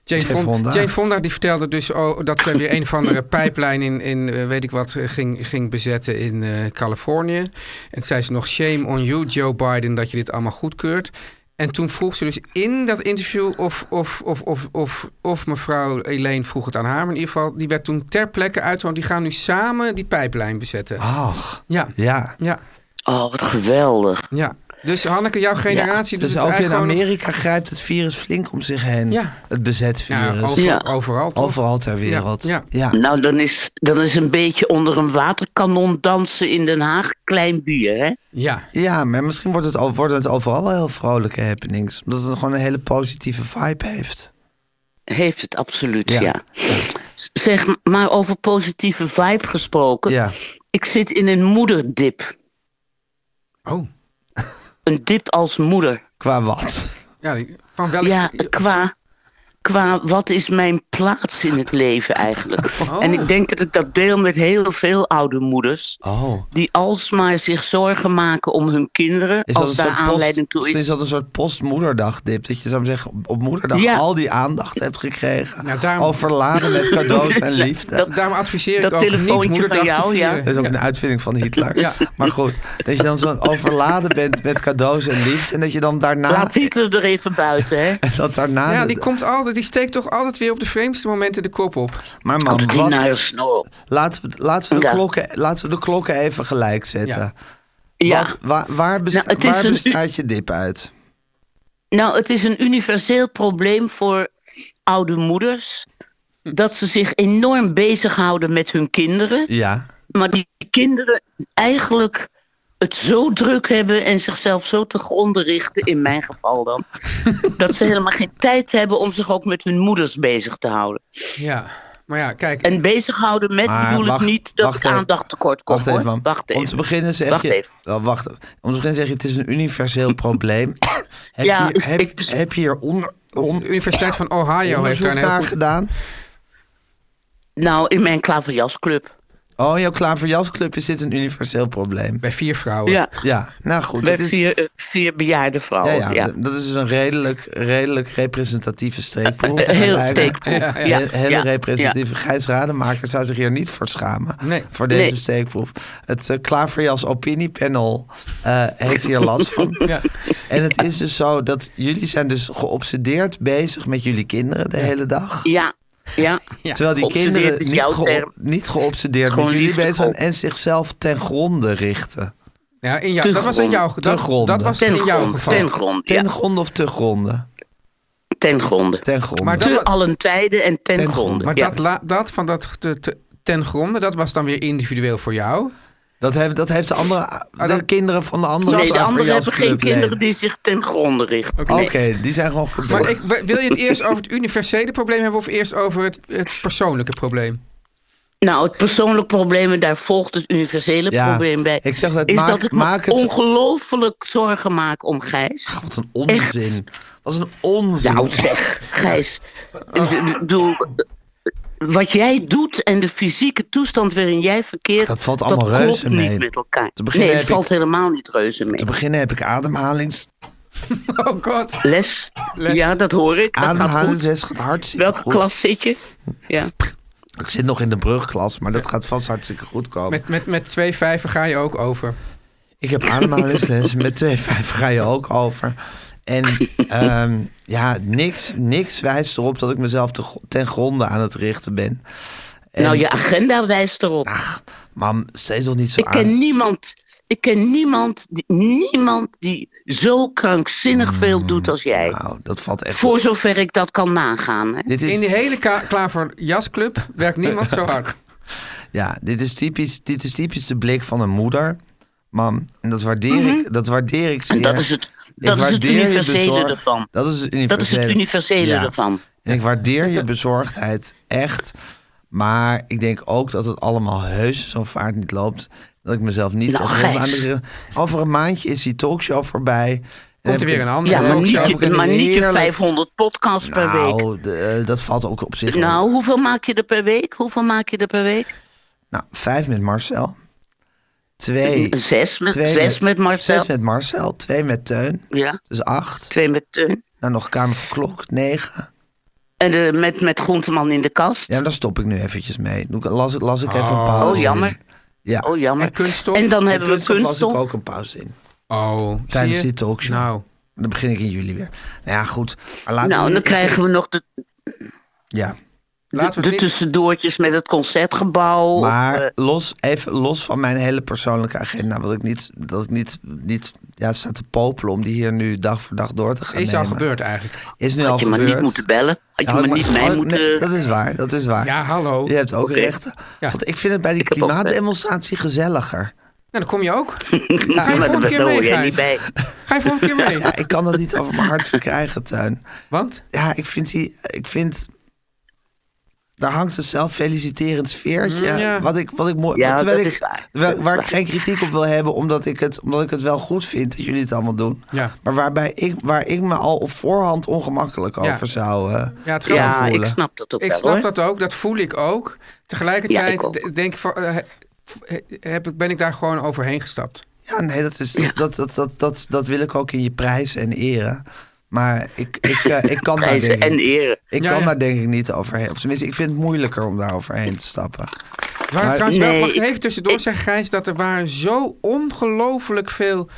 D: Jane,
C: Jane
D: Fon-
C: Fonda.
D: Jane Fonda die vertelde dus oh, dat zij weer een of andere pijplijn in, in eh, weet ik wat eh, ging, ging bezetten in eh, Californië. En zei ze nog shame on you Joe Biden dat je dit allemaal goedkeurt. En toen vroeg ze dus in dat interview of, of, of, of, of, of mevrouw Elaine vroeg het aan haar. Maar in ieder geval, die werd toen ter plekke uit. want Die gaan nu samen die pijplijn bezetten.
C: Ah. Ach,
D: Ja,
C: ja.
D: ja,
F: Oh, wat geweldig.
D: ja. Dus Hanneke, jouw generatie doet
C: Dus
D: het
C: ook in
D: eigenlijk gewoon...
C: Amerika grijpt het virus flink om zich heen.
D: Ja.
C: Het bezetvirus.
D: Ja, over-
F: Ja.
D: overal toch?
C: Overal ter wereld.
D: Ja,
F: Nou, dan is, dan is een beetje onder een waterkanon dansen in Den Haag klein bier, hè?
D: Ja,
C: Ja, maar misschien wordt het, al- worden het overal wel heel vrolijke happenings. Omdat het gewoon een hele positieve vibe heeft.
F: Heeft het absoluut,
C: Ja.
F: ja. S- Zeg, maar over positieve vibe gesproken.
C: Ja.
F: Ik zit in een moederdip.
D: Oh.
F: Een dip als moeder.
C: Qua wat?
D: ja die- van welk...
F: Ja, qua, qua wat is mijn plaats in het leven eigenlijk. En ik denk dat ik dat deel met heel veel oude moeders.
C: Oh.
F: Die alsmaar zich zorgen maken om hun kinderen.
C: Is dat, een
F: als daar
C: soort
F: aanleiding
C: post,
F: toe
C: is
F: is.
C: dat een soort postmoederdagdip? Dat je zou zeggen, op- op moederdag
F: Ja.
C: al die aandacht hebt gekregen.
D: Nou, daarom-
C: Overladen met cadeaus en liefde.
F: Dat-
D: Daarom adviseer
F: Dat
D: ik ook
F: telefoontje
D: niet
F: van
D: moederdag te
F: jou, ja.
D: vieren.
C: Dat is ook een uitvinding van Hitler.
D: Ja.
C: Maar goed, dat je dan zo overladen bent met cadeaus en liefde. En dat je dan daarna...
F: Laat Hitler er even buiten, hè?
C: en dat daarna
D: Ja,
C: de-
D: die komt altijd, die steekt toch altijd weer op de vreemdste momenten de kop op.
C: Maar
F: Als
C: man,
F: die naar
C: Oh, wat,
F: je snor.
C: laten, we, laten, we de
F: Ja.
C: klokken, laten we de klokken even gelijk zetten.
F: Ja.
C: Wat, waar waar, besta-
F: Nou, het is
C: waar
F: een-
C: bestaat je dip uit?
F: Nou, het is een universeel probleem voor oude moeders. Dat ze zich enorm bezighouden met hun kinderen.
C: Ja.
F: Maar die kinderen eigenlijk het zo druk hebben en zichzelf zo te gronden richten, in mijn geval dan, dat ze helemaal geen tijd hebben om zich ook met hun moeders bezig te houden.
D: Ja, maar ja, kijk.
F: En bezighouden met
C: Maar
F: bedoel
C: wacht-
F: ik niet dat
C: wacht
F: het
C: even.
F: aandacht tekort komt.
C: Wacht even,
F: hoor.
C: man.
F: Wacht even.
C: Om te beginnen zeg
F: Wacht
C: je...
F: even.
C: Wel, wacht even. Om te beginnen zeg je, het is een universeel probleem. heb,
F: Ja,
C: je, heb,
F: ik-
C: heb je hier onder, on,
D: de Universiteit van Ohio heeft
C: onderzoek
D: daar een
C: naar
D: heel goed...
C: gedaan?
F: Nou, in mijn klaverjasclub.
C: Oh, jouw Klaverjasclub is dit een universeel probleem.
D: Bij vier vrouwen.
F: Ja,
C: Ja, nou goed.
F: bij
C: dat is,
F: vier, eh, vier bejaarde
C: ja,
F: vrouwen.
C: ja,
F: Ja,
C: d- Dat is dus een redelijk, redelijk representatieve steekproef.
F: Eh, heel
C: Lijkt me.
F: steekproef. Ja, ja,
C: Heel- Hele
F: ja,
C: representatieve. Gijs Rademaker zou zich hier niet voor schamen.
D: Nee.
C: Voor deze
F: Nee.
C: steekproef. Het eh, Klaverjas opiniepanel eh, heeft hier last van. En het is dus zo dat jullie zijn dus geobsedeerd bezig met jullie kinderen de hele dag.
F: Ja, ja.
C: Terwijl die
F: Obsedeerd
C: kinderen
F: is
C: niet,
F: jouw
C: geo-
F: term.
C: niet geobsedeerd met
F: Gewoon
C: jullie
F: liefde
C: bezig zijn
F: gewoon.
C: en zichzelf ten gronde richten.
D: Ja, in jou,
F: Te
D: dat was in jouw
C: gronde. Te
D: dat,
C: gronde.
D: dat was
F: Ten
D: in jouw
F: grond,
D: geval.
F: ten grond,
C: Ten
F: ja,
C: gronde of te gronde?
F: ten gronde.
C: Ten gronde.
D: Maar dat-
F: Te allen tijden en
C: Ten
F: ten,
C: gronde.
F: gronde.
D: Maar
F: ja.
D: dat, la- dat van dat te- te- ten gronde, dat was dan weer individueel voor jou.
C: dat, heeft, dat heeft de andere de
D: Ah, dat-
C: kinderen van de andere
F: nee, de anderen hebben geen
C: Klaverjasclub
F: kinderen
C: leden.
F: die zich ten gronde richten.
C: Oké,
F: Nee.
C: die zijn gewoon goed.
D: Maar ik, wil je het eerst over het universele probleem hebben of eerst over het, het persoonlijke probleem?
F: Nou, het persoonlijk probleem, en daar volgt het universele
C: Ja,
F: probleem bij.
C: ik zeg dat,
F: is
C: maak-
F: dat ik
C: maak
F: me
C: het-
F: ongelooflijk zorgen maak om Gijs.
C: Wat een onzin. Wat een onzin.
F: Nou zeg, Gijs. ik bedoel, wat jij doet en de fysieke toestand waarin jij verkeert...
C: Dat valt allemaal
F: dat klopt
C: reuze mee.
F: niet met elkaar.
C: Te beginnen
F: Nee, het
C: heb ik-
F: valt helemaal niet reuze mee.
C: Te beginnen heb ik ademhalings...
D: Oh god.
F: Les, ja, dat hoor ik. Dat gaat goed.
C: Ademhalingsles gaat hartstikke
F: Welke
C: goed.
F: klas zit je? Ja.
C: Ik zit nog in de brugklas, maar dat gaat vast hartstikke goed komen.
D: Met, met, met twee vijven ga je ook over.
C: Ik heb ademhalingsles. Met twee vijf ga je ook over. En ehm, ja, niks, niks wijst erop dat ik mezelf te gro- ten gronde aan het richten ben. En-
F: Nou, je agenda wijst erop.
C: Ach, mam, steeds nog niet zo
F: Ik
C: aan.
F: ken niemand. Ik ken niemand die, niemand die zo krankzinnig veel doet als jij.
C: Mm, Nou, dat valt echt
F: Voor zover ik dat kan nagaan. Hè?
C: Dit is,
D: In die hele ka- klaverjasclub werkt niemand zo hard.
C: Ja, dit is, typisch, dit is typisch de blik van een moeder. Mam, en dat waardeer, ik, dat waardeer ik zeer.
F: Mhm. dat is het-
C: Ik
F: dat is het
C: waardeer je
F: universele
C: bezorg-
F: ervan.
C: Dat is het universele,
F: Dat is het universele
C: Ja.
F: ervan.
C: En ik waardeer je bezorgdheid echt. Maar ik denk ook dat het allemaal heus zo vaart niet loopt. Dat ik mezelf niet...
F: Nou,
C: tot heel
F: Gijs.
C: aan de- Over een maandje is die talkshow voorbij. En heb
D: er
C: ik
D: weer een andere
F: Ja, maar
D: talkshow
F: niet,
C: heb ik
F: je,
C: een
F: maar niet je
C: heerlijk-
F: 500 podcasts per week.
C: Nou, de- eh, dat valt ook op zich wel.
F: Nou, hoeveel maak je er per week? Hoeveel maak je er per week?
C: Nou, vijf met Marcel. Twee.
F: Zes met,
C: twee
F: zes met Marcel.
C: Zes met Marcel. Twee met Teun.
F: Ja,
C: Dus acht.
F: twee met Teun.
C: Dan nog Kamer van Klok. Negen.
F: En eh, met, met Groenteman in de kast.
C: Ja, maar daar stop ik nu eventjes mee. Doe ik- Las, las ik even een pauze
F: Oh, jammer.
C: in. Ja.
F: Oh, jammer.
D: En kunststof?
F: En dan
C: En
F: hebben we
C: las ik
F: kunststof.
C: ook een pauze in.
D: Oh,
C: Tijdens
D: zie je?
C: die talkshow.
D: Nou,
C: Dan begin ik in juli weer. Nou ja, goed. Maar laten we
F: Nou,
C: nu even-
F: dan krijgen we nog de,
C: Ja.
D: laten we
F: de
D: het niet...
F: tussendoortjes met het concertgebouw. Of, eh,
C: Maar los, even los van mijn hele persoonlijke agenda. Wat ik niet, dat ik niet, niet ja, sta te popelen om die hier nu dag voor dag door te gaan
D: Is al
C: nemen.
D: gebeurd eigenlijk.
C: Is nu al
F: had je maar
C: gebeurd.
F: niet moeten bellen. Had je
C: Ja,
F: maar
C: maar-
F: niet mij
C: oh,
F: moeten...
C: nee, dat is waar, dat is waar.
D: Ja, hallo.
C: Je
D: Nou,
C: hebt ook rechten.
D: Ja.
C: Want ik vind het bij die
F: Ik heb ook recht.
C: klimaatdemonstratie gezelliger.
D: dan kom je ook. Ga je
F: maar
D: volgende
F: daar
D: keer mee,
F: hoor jij
D: Gijs?
F: niet bij.
D: Ga je volgende keer mee?
C: Ja, ik kan dat niet over mijn hart verkrijgen, Tuin.
D: Want?
C: Ja, ik vind die... Ik vind... Daar hangt een zelffeliciterend sfeertje.
D: Mm, ja.
C: Wat ik, wat ik mooi.
F: Ja,
C: terwijl
F: dat
C: ik,
F: is waar.
C: terwijl-
F: Dat is
C: waar ik
F: waar.
C: geen kritiek op wil hebben, omdat ik, het, omdat ik het wel goed vind dat jullie het allemaal doen.
D: Ja.
C: Maar waarbij ik, waar ik me al op voorhand ongemakkelijk
D: Ja.
C: over zou. eh,
D: Ja, het
C: zou
D: kan
F: Ja, ik
C: voelen.
F: snap dat ook
D: Ik
F: wel,
D: snap
F: hoor.
D: dat ook, dat voel ik ook.
F: Ja,
D: Tegelijkertijd
F: ik ook.
D: d- denk ik van, eh, he- heb, ik- ben ik daar gewoon overheen gestapt.
C: Ja, nee, dat, is, dat, dat, dat, dat, dat wil ik ook in je prijzen en eren. Maar ik, ik, eh, ik kan daar
F: Prijzen
C: denk
F: en
C: ik,
F: eren.
C: ik
D: Ja,
C: kan
D: ja.
C: daar denk ik niet overheen. Of tenminste, ik vind het moeilijker om daar overheen te stappen.
D: Er waren trouwens wel,
F: Nee,
D: mag ik
F: ik-
D: even tussendoor
F: ik-
D: zeggen, Gijs, dat er waren zo ongelooflijk veel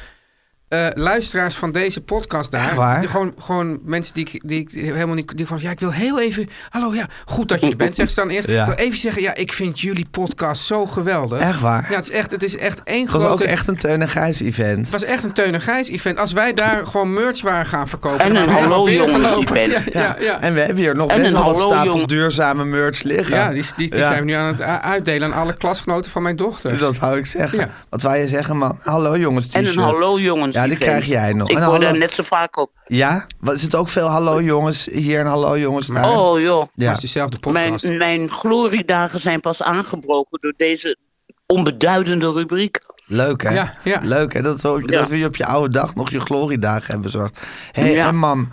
D: eh, luisteraars van deze podcast daar.
C: Echt waar?
D: Die gewoon, gewoon mensen die, ik- die ik helemaal niet. Die van, ja, ik wil heel even. Hallo, ja, goed dat je er bent. Zeg ze dan eerst.
C: Ja.
D: Ik wil even zeggen, ja, ik vind jullie podcast zo geweldig.
C: Echt waar?
D: Ja, het is echt, het is echt één
C: Het was
D: grote.
C: ook echt een Teun en Gijs event.
D: Het was echt een Teun en Gijs event. Als wij daar gewoon merch waren gaan verkopen.
F: En
D: dan
F: een
D: waren we
F: hallo
D: binnen
F: jongens
D: gelopen.
F: event.
D: Ja, ja, ja.
C: En we hebben hier nog
F: En
C: best
F: een
C: wel wat
F: hallo,
C: stapels
F: jongen.
C: duurzame merch liggen.
D: Ja, die, die, die
C: Ja.
D: zijn we nu aan het a- uitdelen aan alle klasgenoten van mijn dochter.
C: Dat wou ik zeggen.
D: Ja.
C: Wat wou je zeggen, man? Hallo jongens t-shirt.
F: En een hallo jongens
C: Ja, die
F: event.
C: krijg jij nog.
F: Ik
C: En
F: hoor
C: hallo-
F: daar net zo vaak op.
C: Ja? Wat, is het ook veel hallo jongens hier en hallo jongens daar?
F: Oh joh.
C: ja.
D: Dat is dezelfde
F: Mijn,
D: podcast.
F: mijn gloriedagen zijn pas aangebroken door deze onbeduidende rubriek.
C: Leuk, hè?
D: Ja, ja.
C: Leuk, hè? Dat, we- dat
F: Ja.
C: we je op je oude dag nog je gloriedagen hebben bezorgd. Hé, hey,
F: Ja.
C: en mam,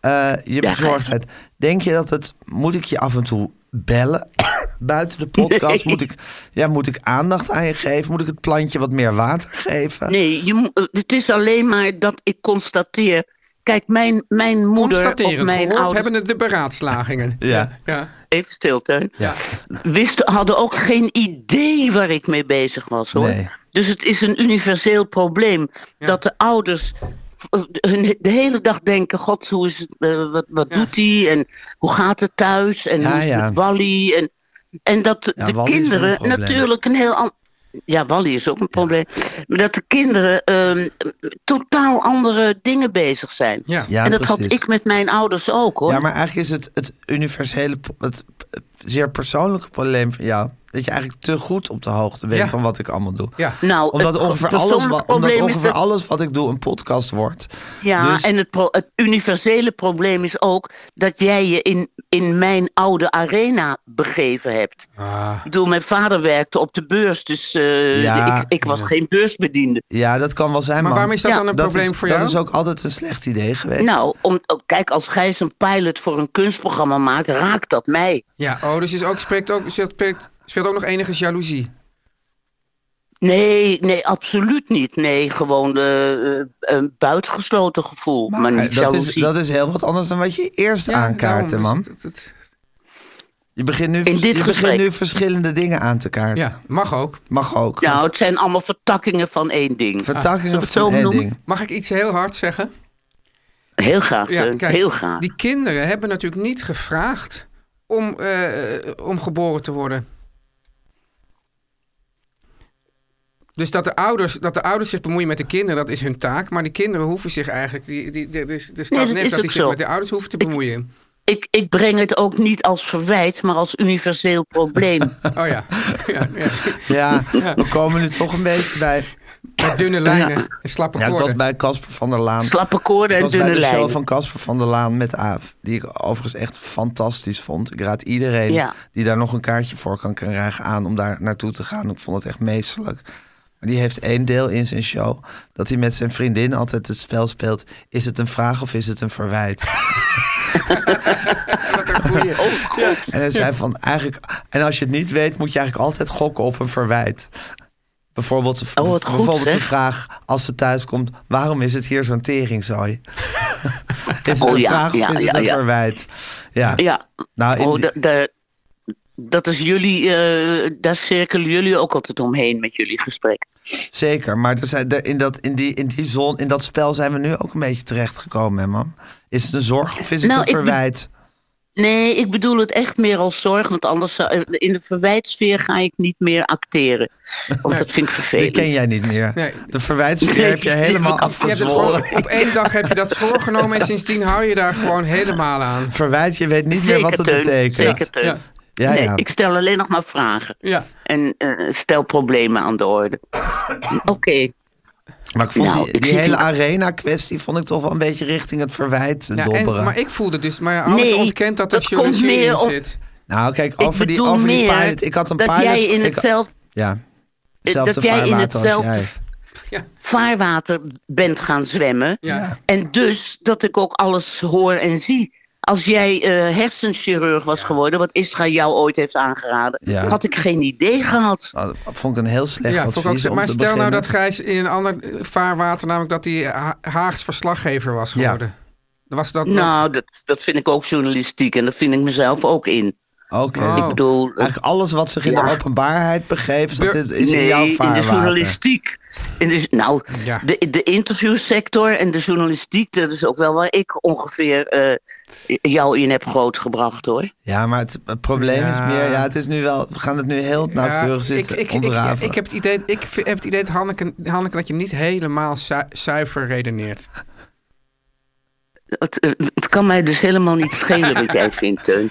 C: eh, je
F: Ja,
C: bezorgdheid. Denk je dat het... Moet ik je af en toe bellen? Buiten de podcast?
F: Nee.
C: Moet, ik, ja, moet ik aandacht aan je geven? Moet ik het plantje wat meer water geven?
F: Nee, je, mo- eh, het is alleen maar dat ik constateer. Kijk, mijn, mijn moeder of
D: Constaterend,
F: mijn
D: gehoord
F: ouders...
D: hebben het de beraadslagingen.
C: Ja.
D: ja.
F: Even stil, Teun.
C: Ja.
F: Wisten, hadden ook geen idee waar ik mee bezig was, hoor.
C: Nee.
F: Dus het is een universeel probleem dat de ouders eh, hun de hele dag denken... God, hoe is het, eh, wat, wat
D: Ja.
F: doet hij? En hoe gaat het thuis? En
C: Ja,
F: hoe is het
C: ja.
F: met Wally? En, en dat
C: Ja,
F: de
C: Wally is wel een
F: kinderen
C: probleem.
F: natuurlijk een heel... an- Ja, Wally is ook een probleem. Maar dat de kinderen ehm, totaal andere dingen bezig zijn.
D: Ja.
C: Ja,
F: en dat had
C: precies.
F: ik met mijn ouders ook, hoor.
C: Ja, maar eigenlijk is het, het universele, pro- het eh, zeer persoonlijke probleem van jou... dat je eigenlijk te goed op de hoogte bent
D: Ja.
C: van wat ik allemaal doe.
D: Ja.
F: Nou,
C: Omdat
F: het
C: ongeveer, alles,
F: persoonlijke
C: wa- omdat
F: probleem is
C: ongeveer
F: dat-
C: alles wat ik doe een podcast wordt.
F: Ja,
C: Dus-
F: en het, pro- het universele probleem is ook dat jij je in, in mijn oude arena begeven hebt.
C: Ah.
F: Ik bedoel, mijn vader werkte op de beurs, dus eh,
C: Ja.
F: ik, ik was geen beursbediende.
C: Ja, dat kan wel zijn,
D: Maar waarom is dat
F: Ja,
D: dan een probleem
C: is,
D: voor
C: dat
D: jou?
C: is ook altijd een slecht idee geweest.
F: Nou, om, oh, kijk, als Gijs een pilot voor een kunstprogramma maakt, raakt dat mij.
D: Ja, oh, dus is ook, spreekt, ook, speelt, speelt ook nog enigszins jaloezie.
F: Nee, nee, absoluut niet. Nee, gewoon eh, eh, een buitengesloten gevoel, maar, niet
C: dat, is,
F: jaloezie.
C: dat is heel wat anders dan wat je eerst
D: Ja,
C: aankaart, hè,
D: daarom is
C: man.
D: het- het- het-
C: Je begint nu, je
F: dit
C: begint
F: gesprek.
C: nu verschillende dingen aan te kaarten.
D: ja, mag ook.
C: Mag ook.
F: Nou, het zijn allemaal vertakkingen van één ding.
C: Vertakkingen
F: Ah, zullen we het
C: van
F: zo
C: één
F: noemen?
C: ding.
D: Mag ik iets heel hard zeggen?
F: Heel graag,
D: Ja,
F: Teun,
D: kijk,
F: heel graag.
D: Die kinderen hebben natuurlijk niet gevraagd om, eh, eh, om geboren te worden. Dus dat de, ouders, dat de ouders zich bemoeien met de kinderen, dat is hun taak. Maar die kinderen hoeven zich eigenlijk... Die, die, die, de, de staat
F: Nee, dat
D: neemt dat
F: is
D: die
F: ook
D: zich
F: zo.
D: met de ouders hoeven te bemoeien.
F: Ik, ik breng het ook niet als verwijt, maar als universeel probleem.
D: Oh ja. ja, ja.
C: Ja, we komen nu toch een beetje bij...
D: Met dunne lijnen en slappe
C: Ja, ik was
D: koorden.
C: bij Casper van der Laan.
F: Slappe
C: Ik
F: koorden en
C: was bij
F: dunne
C: de show
F: lijnen.
C: van Casper van der Laan met Aaf. Die ik overigens echt fantastisch vond. Ik raad iedereen
F: Ja.
C: die daar nog een kaartje voor kan krijgen aan om daar naartoe te gaan. Ik vond het echt meestelijk. Maar die heeft één deel in zijn show. Dat hij met zijn vriendin altijd het spel speelt. Is het een vraag of is het een verwijt?
F: Oh,
C: en hij zei van eigenlijk. En als je het niet weet, moet je eigenlijk altijd gokken op een verwijt. Bijvoorbeeld,
F: Oh, wat goed,
C: bijvoorbeeld de
F: zeg.
C: vraag als ze thuis komt: waarom is het hier zo'n teringzooi? is het
F: Oh,
C: een
F: ja,
C: vraag of
F: ja,
C: is het
F: ja,
C: een
F: ja.
C: verwijt? Ja.
F: Ja,
C: Nou, in
F: oh,
C: die-
F: da- da- dat is jullie, eh, daar cirkelen jullie ook altijd omheen met jullie gesprek.
C: Zeker, maar er zijn, er, in, dat, in, die, in die zon, in dat spel zijn we nu ook een beetje terechtgekomen, hè, man? Is het een zorg of is het
F: Nou,
C: een
F: ik be-
C: verwijt?
F: Nee, ik bedoel het echt meer als zorg, want anders zou- eh, in de verwijtsfeer ga ik niet meer acteren. Want dat vind ik
C: Die
F: vervelend.
C: ken jij niet meer.
D: Nee.
C: De verwijtsfeer
F: Nee,
C: heb je
F: die heb
C: helemaal
F: ik af-
D: Je hebt het gewoon,
C: afgezwollen.
D: op één dag heb je dat voorgenomen en sindsdien hou je daar gewoon helemaal aan.
C: Verwijt, je weet niet meer
F: Zeker,
C: wat het
F: Teun,
C: betekent.
F: Zeker, Teun.
D: Ja.
C: Ja,
F: nee,
C: ja.
F: ik stel alleen nog maar vragen.
D: Ja.
F: En eh, stel problemen aan de orde. Oké,
C: Maar ik vond
F: Nou,
C: die,
F: ik
C: die
F: zit
C: hele
F: hier-
C: arena-kwestie vond ik toch wel een beetje richting het verwijt
D: Ja, en-
C: dobberen.
D: maar ik voelde dus, maar Harry
F: Nee,
D: ontkent dat er
F: dat komt
D: jaloezie
F: meer
D: in
F: op-
D: zit.
C: nou, kijk,
F: ik
C: over, die,
F: bedoel
C: over die
F: meer
C: pilot. Ik had een
F: dat
C: pilot.
F: jij in
C: ik-
F: hetzelfde,
C: ja,
F: eh,
C: hetzelfde
F: dat jij in
C: vaarwater als
F: hetzelfde
C: jij.
F: vaarwater bent gaan zwemmen.
D: Ja.
F: En dus dat ik ook alles hoor en zie. Als jij eh, hersenchirurg was geworden, wat Israël jou ooit heeft aangeraden,
C: Ja.
F: had ik geen idee gehad.
C: Nou, Dat vond ik een heel slecht
D: Ja, vond ik ook
C: advies
D: zo.
C: om
D: maar
C: te
D: stel nou
C: beginnen.
D: dat Gijs in een ander eh, vaarwater, namelijk dat hij Ha- Haags verslaggever was
C: Ja.
D: geworden. Was dat
F: Nou, dat, dat vind ik ook journalistiek en dat vind ik mezelf ook in.
C: Oké.
D: Oh.
F: Ik bedoel, eh,
C: Eigenlijk alles wat zich in de
F: Ja.
C: openbaarheid begeeft, dat
D: Bur-
C: is, is in
F: nee,
C: jouw
F: in de
C: vaarwater.
F: journalistiek. In de, nou,
D: Ja.
F: de, de interviewsector en de journalistiek, dat is ook wel waar ik ongeveer eh, jou in heb grootgebracht hoor.
C: Ja, maar het, het probleem
D: Ja.
C: is meer, ja, het is nu wel, we gaan het nu heel nauwkeurig
D: ik,
C: zitten
D: ik, ik, ik,
C: ontrafelen.
D: ik heb het idee, ik v- heb het idee dat Hanneke, Hanneke dat je niet helemaal zu- zuiver redeneert.
F: Het, eh, het kan mij dus helemaal niet schelen wat jij vindt, Teun.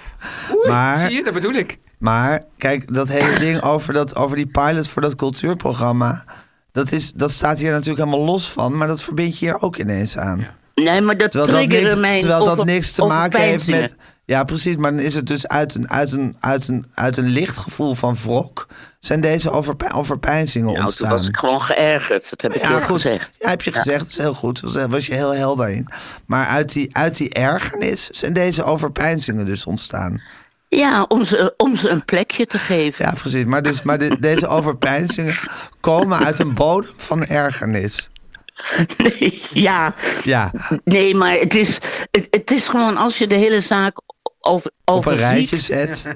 C: maar,
D: Zie je, dat bedoel ik.
C: maar, kijk, dat hele ding over, dat, over die pilot voor dat cultuurprogramma, dat, is, dat staat hier natuurlijk helemaal los van, maar dat verbind je hier ook ineens aan.
F: Nee, maar dat
C: Terwijl, dat
F: triggerde
C: niks,
F: mij
C: terwijl dat
F: over-
C: niks te maken heeft
F: overpeinzingen.
C: met. Ja, precies. Maar dan is het dus uit een, uit een, uit een, uit een licht gevoel van wrok. zijn deze overpe overpeinzingen
F: Nou,
C: ontstaan.
F: toen was ik gewoon geërgerd. Dat heb ik je ook gezegd.
C: Ja, heb je gezegd. Dat is heel goed. Dat was- Daar was je heel helder in. Maar uit die, uit die ergernis zijn deze overpeinzingen dus ontstaan.
F: Ja, om ze, om ze een plekje te geven.
C: Ja, precies. Maar, dus, maar de- deze overpeinzingen komen uit een bodem van ergernis.
F: Nee, ja.
C: Ja,
F: nee maar het is, het, het is gewoon als je de hele zaak over,
C: op een rijtje
F: overziet,
C: zet.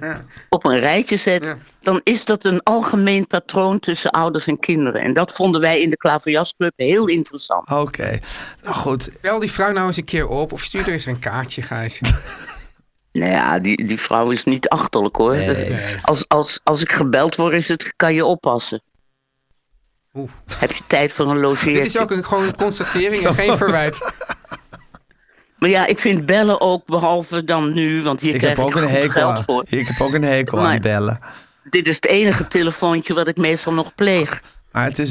F: op een rijtje zet, dan is dat een algemeen patroon tussen ouders en kinderen. En dat vonden wij in de Klaverjasclub heel interessant.
C: Oké. Nou goed.
D: Bel die vrouw nou eens een keer op of stuur er eens een kaartje, Gijs.
F: Nou ja, die, die vrouw is niet achterlijk hoor. Als, als, als ik gebeld word, is het, kan je oppassen.
D: Oeh.
F: Heb je tijd voor een
D: Dit
F: logeertje?
D: is ook een, gewoon een constatering en geen verwijt.
F: Maar ja, ik vind bellen ook, behalve dan nu, want hier
C: Ik
F: krijg
C: heb ook
F: ik
C: een
F: goed
C: hekel
F: geld
C: aan.
F: voor.
C: Ik heb ook een hekel aan
F: Maar-
C: bellen.
F: Dit is het enige telefoontje wat ik meestal nog pleeg.
C: Maar het is,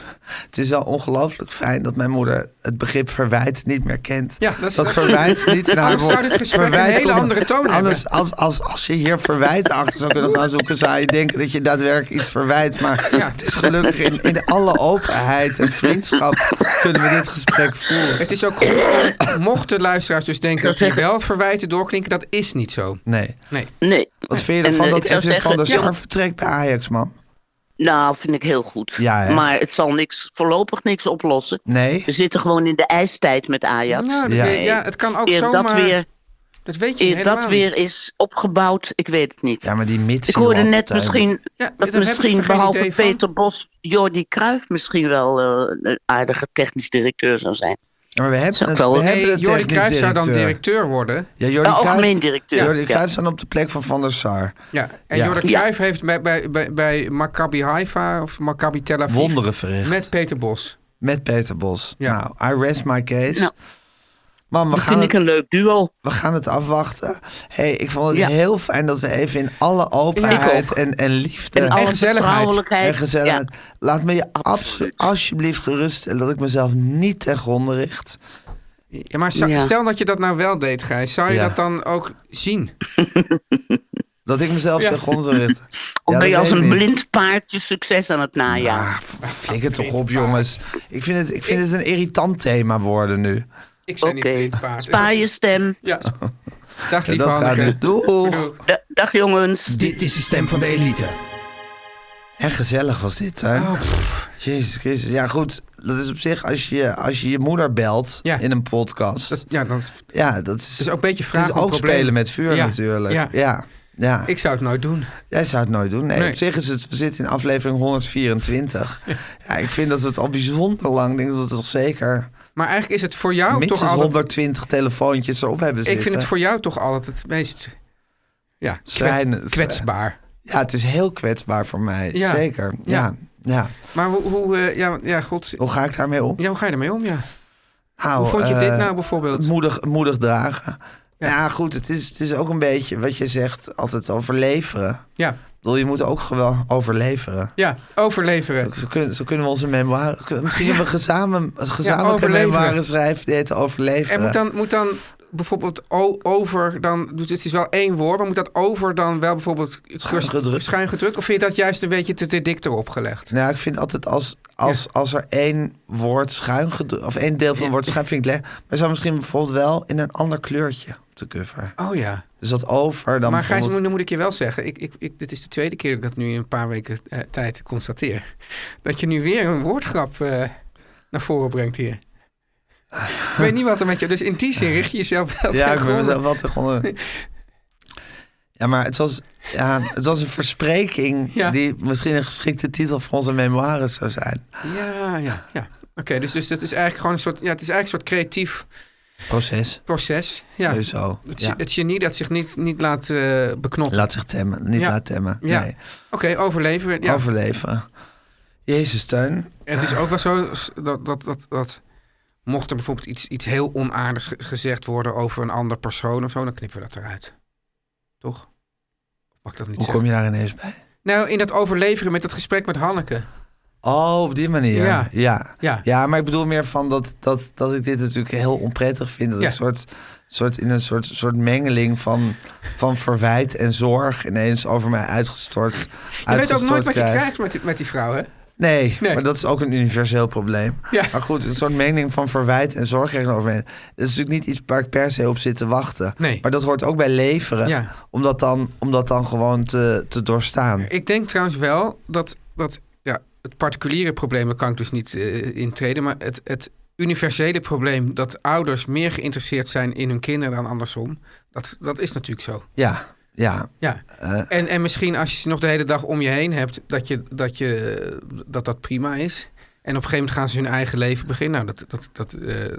C: het is wel ongelooflijk fijn dat mijn moeder het begrip verwijt niet meer kent.
D: Ja, dat is-
C: verwijt niet in haar
D: Anders
C: woord.
D: zou dit gesprek een hele
C: komt-
D: andere toon hebben.
C: anders, als, als, als je hier verwijt achter zou kunnen gaan zoeken, zou je denken dat je daadwerkelijk iets verwijt. Maar
D: Ja.
C: het is gelukkig in, in alle openheid en vriendschap kunnen we dit gesprek voeren.
D: Het is ook goed, om- mochten luisteraars dus denken dat hier wel verwijten doorklinken, dat is niet zo.
C: Nee.
D: Nee.
F: Nee.
C: Wat vind je
F: En,
C: ervan
F: eh,
C: dat
F: ik zou
C: Edwin van
F: zeggen,
C: der
F: ja.
C: Sar vertrekt bij Ajax, man?
F: Nou, vind ik heel goed.
C: Ja, hè?
F: maar het zal niks, voorlopig niks oplossen.
C: Nee?
F: We zitten gewoon in de ijstijd met Ajax.
D: Nou, dat
C: Ja.
D: weet- ja, het kan ook
F: eer
D: zomaar.
F: dat weer,
D: dat weet je
F: eer
D: helemaal
F: dat
D: niet.
F: weer is opgebouwd, ik weet het niet.
C: Ja, maar die mits.
F: ik hoorde
C: joh,
F: net
C: Teun.
F: misschien
D: Ja, daar
F: dat
D: heb ik
F: misschien
D: er geen
F: behalve
D: idee van.
F: Peter Bos, Jordi Cruijff misschien wel eh, een aardige technisch directeur zou zijn.
C: Ja, maar we hebben
F: Zou
C: het.
F: ik wel-
C: We
D: Nee,
C: hebben de
D: Jordi
C: technisch
D: Cruijff zou dan
C: directeur.
D: directeur worden.
C: Ja, Jordi
F: Eh,
C: Cruijff-
F: algemeen directeur,
C: Ja, Jordi
F: ja.
C: Cruijff staat op de plek van Van der Sar.
D: Ja, en
C: Ja.
D: Jordi
F: Ja.
D: Cruijff heeft bij, bij, bij, bij Maccabi Haifa of Maccabi Tel Aviv...
C: Wonderen verricht. Met,
D: Met Peter Bos.
C: Peter Bos.
D: Ja.
C: Nou, I rest my case.
F: Nou.
C: Man, we
F: Dat
C: gaan,
F: vind ik
C: het,
F: een leuk duo.
C: we gaan het afwachten. hey, ik vond het
F: Ja.
C: heel fijn dat we even in alle
F: Ik
C: openheid en, en liefde
F: En alle
D: gezelligheid.
F: vertrouwelijkheid.
C: en gezelligheid...
F: Ja.
C: Laat me je absolu-
F: Absoluut.
C: alsjeblieft geruststellen dat ik mezelf niet ten gronde richt.
D: Ja, maar zou-
F: Ja.
D: stel dat je dat nou wel deed, Gijs. Zou je
C: Ja.
D: dat dan ook zien?
C: Dat ik mezelf
D: Ja.
C: ten gronde richt.
F: Of
C: Ja,
F: ben je
C: dat
F: als
C: weet
F: een
C: ik niet.
F: blind paard je succes aan het najagen?
C: Ah, f- flik het toch op, jongens. Ik vind het, ik vind het een irritant thema worden nu.
D: Ik zei
F: Oké.
D: niet blind
C: Nou,
D: paard.
F: Spaar je stem.
D: Ja. Dag
C: Ja,
D: lieve
C: dat gaat
D: Hanneke.
C: niet. Doeg!
D: Doeg.
F: Da- dag jongens.
G: Dit is de stem van de elite.
C: En gezellig was dit, hè?
D: Oh,
C: Jezus Christus. Ja, goed. Dat is op zich, als je als je, je moeder belt
D: Ja.
C: in een podcast...
D: Dat- Ja, dat
C: ja, dat is,
D: is ook een beetje vraag
C: Het
D: om
C: is ook
D: probleem.
C: spelen met vuur
D: Ja,
C: natuurlijk. Ja,
D: ja.
C: ja.
D: Ik zou het nooit doen.
C: Jij zou het nooit doen. Nee,
D: Nee.
C: op zich is het, we zitten in aflevering 124. ja, ik vind dat het al bijzonder lang, ik denk dat we toch zeker
D: Maar eigenlijk is het voor jou Oh,
C: minstens
D: toch altijd...
C: 120 telefoontjes erop hebben zitten.
D: Ik vind het voor jou toch altijd het meest ja, kwets-
C: Schrijnend.
D: kwetsbaar.
C: Ja, het is heel kwetsbaar voor mij,
D: Ja.
C: zeker. Ja. Ja.
D: Ja. Maar hoe, hoe eh, ja, ja, god,
C: Hoe ga ik daarmee om?
D: ja, hoe ga je ermee om? Ja.
C: Nou,
D: hoe vond je
C: eh,
D: dit nou bijvoorbeeld?
C: Moedig, moedig dragen. Ja,
D: Ja.
C: goed, het is, het is ook een beetje wat je zegt, altijd overleveren. Ik
D: Ja,
C: bedoel, je moet ook gewoon overleveren.
D: ja, overleveren.
C: Zo kunnen, zo kunnen we onze memoire... Misschien hebben we gezamen, gezamenlijke
D: overleveren.
C: memoire schrijven die heet overleveren.
D: En moet dan, moet dan bijvoorbeeld o- over, dan, dus het is wel één woord, maar moet dat over dan wel bijvoorbeeld
C: Schuin gedrukt.
D: schuin gedrukt? Of vind je dat juist een beetje te, te dik erop gelegd?
C: Nou, ja, ik vind altijd als, als, als er één woord schuin gedrukt... of één deel van een woord schuin vind ik lekker. Maar je zou misschien bijvoorbeeld wel in een ander kleurtje op de cover.
D: Oh ja.
C: Dus dat over dan
D: maar Gijs,
C: bijvoorbeeld...
D: moet- dan moet ik je wel zeggen, ik, ik, ik, dit is de tweede keer dat ik dat nu in een paar weken eh, tijd constateer. Dat je nu weer een woordgrap eh, naar voren brengt hier. ik weet niet wat er met je... Dus in die zin richt je jezelf wel
C: Ja,
D: tegen
C: ik ben
D: gronden.
C: mezelf wel te gronden. Ja, maar het was, ja, het was een verspreking
D: Ja.
C: die misschien een geschikte titel voor onze memoires zou zijn.
D: Ja, ja, ja. Oké, dus, dus dat is eigenlijk gewoon een soort, ja, het is eigenlijk een soort creatief
C: Proces,
D: proces. Ja.
C: sowieso.
D: Het,
C: Ja.
D: het genie dat zich niet, niet laat eh, beknotten.
C: Laat zich temmen, niet
D: Ja.
C: laat temmen.
D: Ja.
C: Nee.
D: Oké, overleven. Ja.
C: Overleven. Jezus, Teun.
D: Het is ook wel zo s- dat, dat, dat, dat mocht er bijvoorbeeld iets, iets heel onaardigs ge- gezegd worden over een ander persoon of zo, dan knippen we dat eruit. Toch? Of mag ik dat niet
C: Hoe kom
D: zeggen?
C: je daar ineens bij?
D: Nou, in dat overleveren met dat gesprek met Hanneke.
C: Oh, op die manier. Ja.
D: Ja.
C: ja.
D: Ja.
C: maar ik bedoel meer van dat, dat, dat ik dit natuurlijk heel onprettig vind. Dat
D: Ja.
C: ik soort, soort in een soort, soort mengeling van, van verwijt en zorg ineens over mij uitgestort.
D: Je weet ook
C: uitgestort
D: nooit wat je
C: krijg.
D: krijgt met die, met die vrouw, hè?
C: Nee,
D: Nee.
C: maar dat is ook een universeel probleem.
D: Ja.
C: Maar goed, een soort mengeling van verwijt en zorg krijgen over mensen. Dat is natuurlijk niet iets waar ik per se op zit te wachten.
D: Nee.
C: Maar dat hoort ook bij leveren.
D: Ja.
C: Om, dat dan, om dat dan gewoon te, te doorstaan.
D: Ik denk trouwens wel dat, dat ja, het particuliere probleem, daar kan ik dus niet eh, intreden, maar het, het universele probleem dat ouders meer geïnteresseerd zijn in hun kinderen dan andersom, dat, dat is natuurlijk zo.
C: Ja, ja.
D: Ja.
C: Eh.
D: en, en misschien als je ze nog de hele dag om je heen hebt, dat je, dat, je, eh, dat, dat prima is. En op een gegeven moment gaan ze hun eigen leven beginnen. Nou, dat, dat, dat, eh,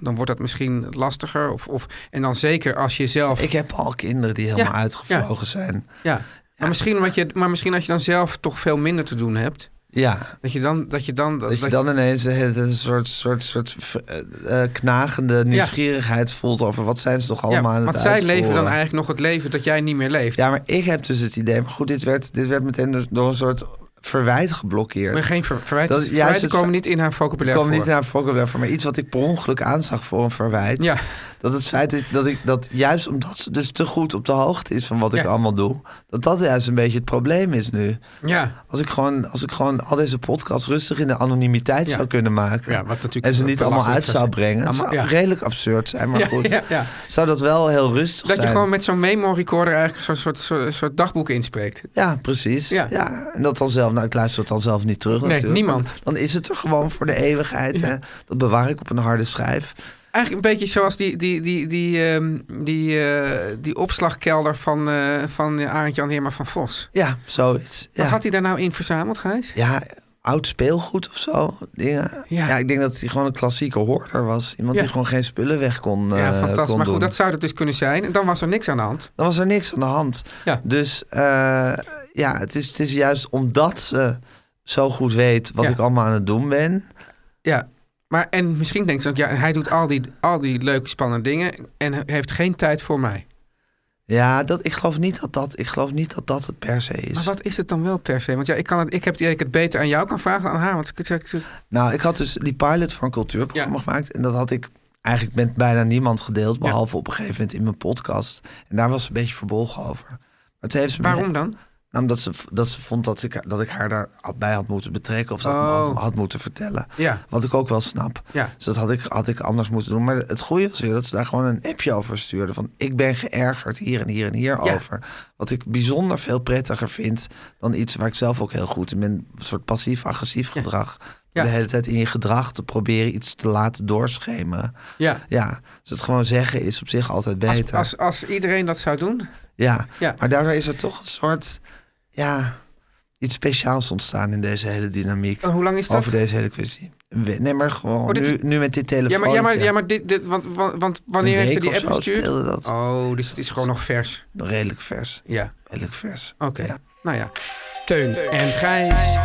D: dan wordt dat misschien lastiger. Of, of, en dan zeker als je zelf.
C: Ik heb al kinderen die helemaal
D: Ja,
C: uitgevlogen zijn.
D: ja. Maar, misschien omdat je, maar misschien als je dan zelf toch veel minder te doen hebt.
C: Ja,
D: Dat je dan. Dat je dan, dat,
C: dat je
D: dat-
C: dan ineens een een soort, soort, soort eh, eh, knagende nieuwsgierigheid voelt over wat zijn ze toch allemaal aan
D: ja,
C: het
D: Want zij leven dan
C: uitvoeren.
D: eigenlijk nog het leven dat jij niet meer leeft.
C: Ja, maar ik heb dus het idee, maar goed, dit werd, dit werd meteen dus door een soort verwijt geblokkeerd.
D: maar geen ver, verwijten,
C: Dat is juist
D: verwijten
C: het
D: komen
C: ver-
D: niet in haar vocabulaire
C: Ik kwam niet
D: voor.
C: naar Fokker voor, maar iets wat ik per ongeluk aanzag voor een verwijt.
D: Ja.
C: Dat het feit is dat ik dat juist omdat ze dus te goed op de hoogte is van wat ik
D: Ja.
C: allemaal doe, dat dat juist een beetje het probleem is nu.
D: Ja.
C: Als ik gewoon, als ik gewoon al deze podcasts rustig in de anonimiteit
D: Ja.
C: zou kunnen maken.
D: Ja, wat natuurlijk
C: en ze niet allemaal uit
D: belachelijk zou zijn.
C: zou brengen. Het
D: Allemaal-
C: zou
D: ja.
C: redelijk absurd zijn, maar
D: Ja,
C: goed.
D: ja, ja.
C: Zou dat wel heel rustig
D: Dat je
C: zijn?
D: gewoon met zo'n memo recorder eigenlijk zo'n soort, soort, soort dagboek inspreekt.
C: Ja, precies. Ja.
D: Ja.
C: En dat dan zelf. Nou, ik luister het dan zelf niet terug.
D: Nee,
C: natuurlijk.
D: niemand.
C: Dan is het er gewoon voor de eeuwigheid. Hè? Dat bewaar ik op een harde schijf.
D: Eigenlijk een beetje zoals die, die, die, die, ehm, die, eh, die opslagkelder van, eh van eh, Arend-Jan Heerma van Vos.
C: Ja, zoiets. Ja.
D: Wat had hij daar nou in verzameld, Gijs?
C: ja, oud speelgoed of zo. Dingen. Ja.
D: Ja.
C: ik denk dat hij gewoon een klassieke hoorder was. Iemand
D: Ja.
C: die gewoon geen spullen weg kon, eh
D: ja,
C: kon
D: fantastisch. Maar
C: doen.
D: goed, dat zou dat dus kunnen zijn. En dan was er niks aan de hand.
C: Dan was er niks aan de hand.
D: Ja.
C: Dus eh, ja, het is, het is juist omdat ze zo goed weet wat
D: Ja.
C: ik allemaal aan het doen ben.
D: Ja, maar en misschien denkt ze ook, ja, hij doet al die, al die leuke, spannende dingen en heeft geen tijd voor mij.
C: Ja, dat, ik, geloof niet dat dat, ik geloof niet dat dat het per se is.
D: Maar wat is het dan wel per se? Want ja, ik, kan het, ik heb het idee dat ik het beter aan jou kan vragen dan aan haar. Want ik, ik- ik-
C: Nou, ik had dus die pilot voor een cultuurprogramma
D: Ja.
C: gemaakt. En dat had ik eigenlijk met bijna niemand gedeeld. Behalve op een gegeven moment in mijn podcast. En daar was ze een beetje verbolgen over. Maar toen heeft ze me-
D: waarom dan?
C: Nou, omdat ze, v- dat ze vond dat ik, dat ik haar daar al bij had moeten betrekken. Of dat ik me
D: Oh.
C: had, had moeten vertellen.
D: Ja.
C: Wat ik ook wel snap.
D: Ja.
C: Dus dat had ik, had ik anders moeten doen. Maar het goede was weer dat ze daar gewoon een appje over stuurde. Van ik ben geërgerd hier en hier en hier
D: Ja.
C: over. Wat ik bijzonder veel prettiger vind dan iets waar ik zelf ook heel goed in ben. Een soort passief-agressief gedrag.
D: Ja.
C: De hele tijd in je gedrag te proberen iets te laten doorschemeren.
D: Ja.
C: Ja, dus het gewoon zeggen is op zich altijd
D: Als,
C: beter.
D: als, als iedereen dat zou doen.
C: Ja.
D: Ja.
C: maar daardoor is er toch een soort, ja, iets speciaals ontstaan in deze hele dynamiek.
D: En eh, hoe lang is dat?
C: Over deze hele kwestie. Een we- Nee, maar gewoon
D: Oh, dit
C: nu,
D: is-
C: nu met dit telefoon.
D: Ja, maar, ja, maar, ja, maar dit, dit, want, want, want wanneer heeft ze die app gestuurd?
C: speelde dat.
D: Oh, dus het is gewoon nog vers.
C: Nog Redelijk vers.
D: Ja,
C: Redelijk vers.
D: oké.
C: Ja.
D: Nou ja. Teun en Gijs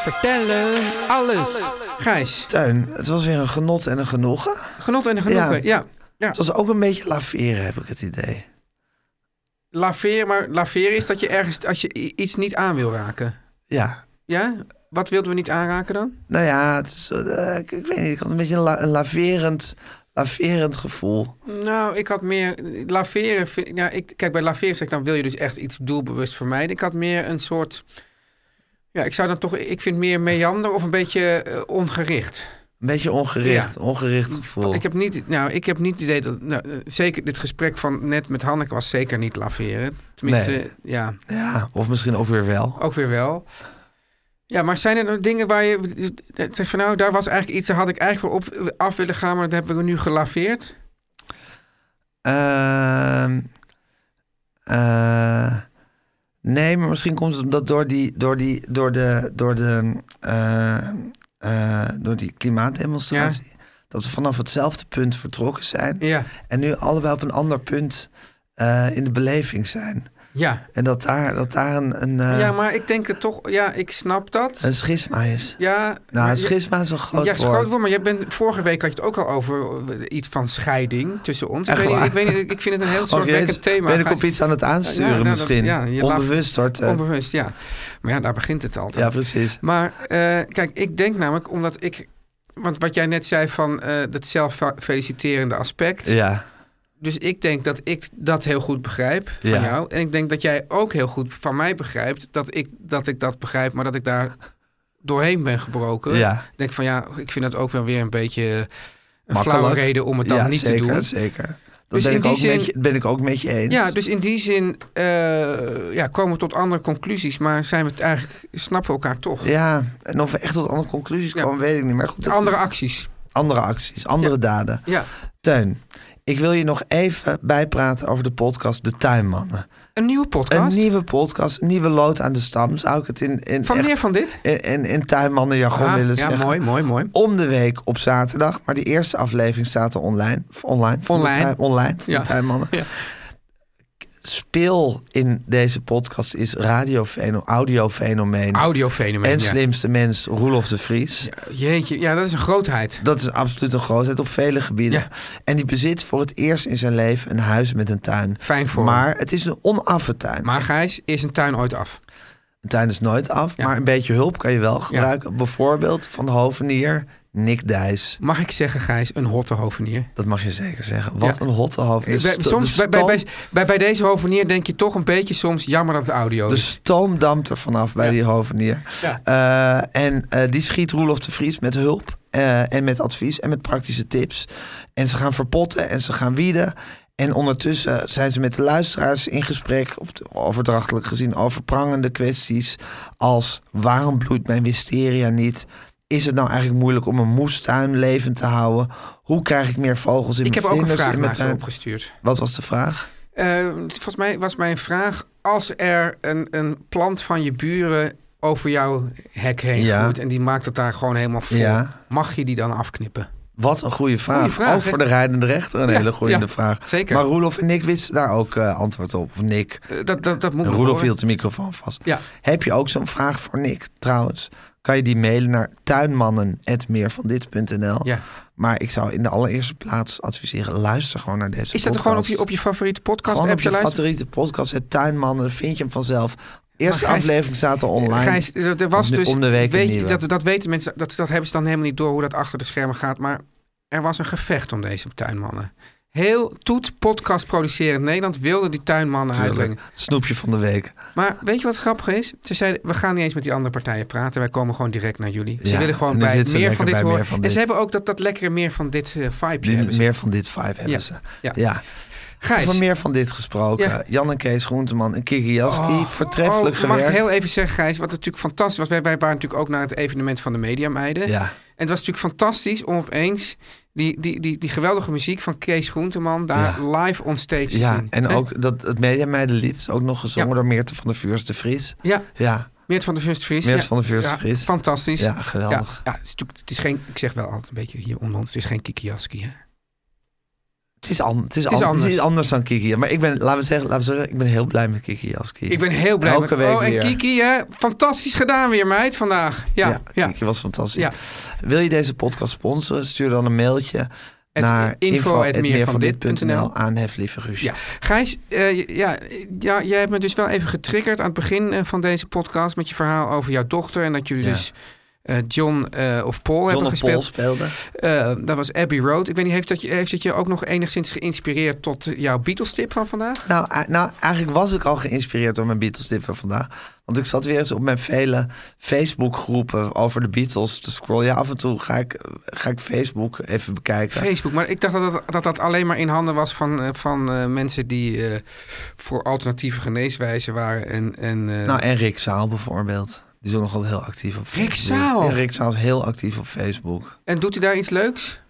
D: vertellen alles. Gijs,
C: Tuin, het was weer een genot en een genoegen.
D: genot en genoegen. Ja.
C: Het was ook een beetje laveren, heb ik het idee.
D: Laveren, maar laveren is dat je ergens als je i- iets niet aan wil raken.
C: Ja.
D: Ja? Wat wilden we niet aanraken dan?
C: Nou ja, het is, eh, ik, ik weet niet, ik had een beetje een, la- een laverend, laverend gevoel.
D: Nou, ik had meer. Laveren. Vind, ik- nou, ik, kijk, bij laveren zeg ik dan wil je dus echt iets doelbewust vermijden. Ik had meer een soort. Ja, ik zou dan toch. Ik vind meer meander of een beetje eh, ongericht.
C: Een beetje ongericht,
D: Ja.
C: ongericht gevoel.
D: Ik heb niet. Nou, ik heb niet het idee dat. Nou, eh, zeker dit gesprek van net met Hanneke was zeker niet laveren. Tenminste,
C: Nee.
D: ja.
C: Ja, of misschien ook weer wel.
D: Ook weer wel. Ja, maar zijn er nou dingen waar je... Zeg van nou, daar was eigenlijk iets... Daar had ik eigenlijk wel op eh, af willen gaan... maar dat hebben we nu gelaveerd.
C: Ehm, eh, nee, maar misschien komt het omdat door die, door die, door de, door de, eh, eh, door die klimaatdemonstratie. Dat we vanaf hetzelfde punt vertrokken zijn.
D: Ja,
C: En nu allebei op een ander punt eh, in de beleving zijn.
D: ja.
C: En dat daar, dat daar een, een, eh,
D: ja, maar ik denk het toch... Ja, ik snap dat.
C: een schisma is.
D: Ja,
C: Nou,
D: maar je-
C: een schisma is een groot
D: ja,
C: woord.
D: is een groot woord, maar jij bent, vorige week had je het ook al over eh, iets van scheiding tussen ons. Ik
C: Echt
D: weet, niet,
C: waar?
D: ik, weet niet, ik vind het een heel
C: Oké,
D: zorgwekkend
C: dus
D: thema.
C: Ben ik
D: Gaat-
C: op iets aan het aansturen
D: Ja, nou, dat-
C: misschien?
D: ja, je laat-
C: Onbewust wordt. eh,
D: Onbewust, ja. Maar ja, daar begint het altijd.
C: ja, precies.
D: Maar eh, kijk, ik denk namelijk omdat ik... Want wat jij net zei van eh dat zelffeliciterende aspect.
C: Ja.
D: Dus ik denk dat ik dat heel goed begrijp van
C: Ja.
D: jou. En ik denk dat jij ook heel goed van mij begrijpt dat ik dat, ik dat begrijp, maar dat ik daar doorheen ben gebroken.
C: Ja.
D: Ik denk van ja, ik vind dat ook wel weer een beetje een
C: Makkelijk.
D: flauwe reden om het dan
C: ja,
D: niet
C: zeker,
D: te doen.
C: Zeker. Dat
D: Dus
C: ben,
D: in
C: ik
D: die
C: ook
D: zin-
C: met je, ben ik ook met je eens.
D: Ja, dus in die zin eh, ja, komen we tot andere conclusies, maar zijn we het eigenlijk, snappen we elkaar toch?
C: Ja, en of we echt tot andere conclusies
D: Ja.
C: komen, weet ik niet. Maar goed, dat
D: Andere
C: is-
D: acties.
C: andere acties, andere
D: Ja.
C: daden.
D: Ja.
C: Teun, ik wil je nog even bijpraten over de podcast De Tuinmannen.
D: Een nieuwe podcast.
C: Een nieuwe podcast, een nieuwe lood aan de stam, zou ik het in, in,
D: Van
C: echt-
D: meer van dit?
C: in, in, in tuinmannenjargon
D: Ah,
C: willen
D: ja,
C: zeggen.
D: mooi, mooi, mooi.
C: Om de week op zaterdag, maar die eerste aflevering staat er online. Online. van de
D: Online.
C: tuin- online van
D: Ja.
C: de tuinmannen. Speel in deze podcast is radiofenomeen, audiofenomeen.
D: Audiofenomeen.
C: En
D: ja.
C: slimste mens Roelof de Vries.
D: Jeetje, ja, dat is een grootheid.
C: Dat is absoluut een grootheid op vele gebieden.
D: Ja.
C: En die bezit voor het eerst in zijn leven een huis met een tuin.
D: Fijn voor hem.
C: Maar het is een onaffe tuin.
D: Maar Gijs, is een tuin ooit af?
C: Een tuin is nooit af,
D: Ja.
C: maar een beetje hulp kan je wel gebruiken. Bijvoorbeeld van hovenier Nick Dijs.
D: Mag ik zeggen, Gijs, een hotte hovenier?
C: Dat mag je zeker zeggen. Wat
D: Ja.
C: een hotte hovenier. De
D: Bij-
C: sto-
D: soms
C: de
D: bij, bij, bij,
C: stoom-
D: bij, bij deze hovenier denk je toch een beetje soms jammer dat het audio
C: De
D: is.
C: stoom dampt er vanaf bij die hovenier. Eh, en eh, die schiet Roelof de Vries met hulp eh, en met advies en met praktische tips. En ze gaan verpotten en ze gaan wieden. En ondertussen zijn ze met de luisteraars in gesprek, of overdrachtelijk gezien, over prangende kwesties als waarom bloeit mijn wisteria niet? Is het nou eigenlijk moeilijk om een moestuin levend te houden? Hoe krijg ik meer vogels in
D: ik
C: mijn
D: heb ook een
C: vlinders
D: vraag
C: in mijn
D: naar ze
C: tuin?
D: opgestuurd.
C: Wat was de vraag?
D: Eh, volgens mij was mijn vraag, als er een, een plant van je buren over jouw hek heen
C: Ja.
D: groeit... en die maakt het daar gewoon helemaal vol,
C: Ja.
D: mag je die dan afknippen?
C: Wat een goede vraag.
D: Goeie vraag,
C: ook
D: hè?
C: voor de rijdende rechter een
D: Ja,
C: hele goede
D: ja,
C: vraag.
D: zeker.
C: Maar Roelof en Nick wisten daar ook eh, antwoord op. Of Nick.
D: Eh, dat, dat, dat moet
C: En
D: nog
C: Roelof
D: horen.
C: hield de microfoon vast.
D: Ja.
C: Heb je ook zo'n vraag voor Nick trouwens? Kan je die mailen naar tuinmannen.meervandit.nl.
D: Ja.
C: Maar ik zou in de allereerste plaats adviseren, luister gewoon naar deze
D: Is dat
C: podcast.
D: er gewoon op je, op je favoriete podcast
C: Gewoon op
D: appje
C: je
D: luisteren?
C: favoriete podcast, het tuinmannen, vind je hem vanzelf. Eerste
D: Maar Gijs-
C: aflevering staat er online.
D: Gijs, er er was
C: Om de-
D: dus.
C: om de week een
D: weet je,
C: nieuwe.
D: dat, dat weten mensen, dat, dat hebben ze dan helemaal niet door hoe dat achter de schermen gaat. Maar er was een gevecht om deze tuinmannen. heel toet podcast produceren in Nederland wilde die tuinmannen uitbrengen.
C: Tuurlijk. Snoepje van de week.
D: Maar weet je wat grappig is? Ze zeiden, we gaan niet eens met die andere partijen praten. Wij komen gewoon direct naar jullie. Ze
C: Ja,
D: willen gewoon
C: en dan
D: bij
C: zitten ze
D: meer
C: lekker
D: van dit
C: bij
D: horen.
C: meer van
D: en
C: dit.
D: ze hebben ook dat, dat lekkere meer van dit eh vibe
C: Die-
D: hebben ze.
C: meer van dit vibe hebben
D: Ja.
C: ze.
D: Ja.
C: ja.
D: Gijs,
C: Van meer van dit gesproken.
D: Ja.
C: Jan en Kees Groenteman en Kiki Jaski. voortreffelijk
D: oh, mag
C: gewerkt.
D: ik heel even zeggen, Gijs, wat natuurlijk fantastisch was. Wij, wij waren natuurlijk ook naar het evenement van de Media Meiden.
C: Ja.
D: En het was natuurlijk fantastisch om opeens die, die, die, die geweldige muziek van Kees Groenteman daar live on stage te
C: Ja,
D: zien.
C: en
D: Hè?
C: ook dat, het Media Meidenlied is ook nog gezongen door Meerte van der Vuurs de Vries.
D: Ja,
C: Ja,
D: Meert van de Vurst Vries.
C: Meert
D: ja.
C: van der Vurst
D: Ja,
C: Vries.
D: Fantastisch.
C: ja geweldig.
D: Ja, ja, het, is natuurlijk- het is geen, ik zeg wel altijd een beetje hier onder ons, het is geen Kikiaski. Hè?
C: Het is, an, het, is
D: Het is
C: an-
D: anders.
C: het is anders dan Kiki. Maar ik ben, laten we zeggen, laten we zeggen ik ben heel blij met Kiki Jaski.
D: Ik ben heel blij
C: Elke
D: met
C: week
D: Oh, en
C: weer.
D: Kiki, hè? fantastisch gedaan weer, meid, vandaag. Ja, ja.
C: Kiki was fantastisch.
D: Ja.
C: Wil je deze podcast sponsoren? Stuur dan een mailtje
D: Het
C: naar
D: info at
C: info@meervandit.nl
D: meervandit.nl.
C: aan Hef Lieve Guus.
D: Ja, Gijs, eh, ja, ja, jij hebt me dus wel even getriggerd aan het begin eh, van deze podcast met je verhaal over jouw dochter en dat jullie
C: Ja.
D: dus eh, John eh, of Paul
C: John
D: hebben
C: of Paul
D: gespeeld.
C: speelde.
D: Eh, dat was Abbey Road. Ik weet niet, heeft dat, je, heeft dat je ook nog enigszins geïnspireerd tot eh, jouw Beatles-tip van vandaag?
C: Nou, a- nou, eigenlijk was ik al geïnspireerd door mijn Beatles-tip van vandaag. Want ik zat weer eens op mijn vele Facebook-groepen over de Beatles te scrollen. Ja, af en toe ga ik, ga ik Facebook even bekijken.
D: Facebook, maar ik dacht dat dat, dat dat alleen maar in handen was van, eh, van eh, mensen die eh, voor alternatieve geneeswijzen waren. En, en, eh,
C: nou, en Rick Zaal bijvoorbeeld. Die is ook nog wel heel actief op Facebook.
D: Rick Zaal?
C: Ja, Rick Zaal is heel actief op Facebook.
D: en doet hij daar iets leuks?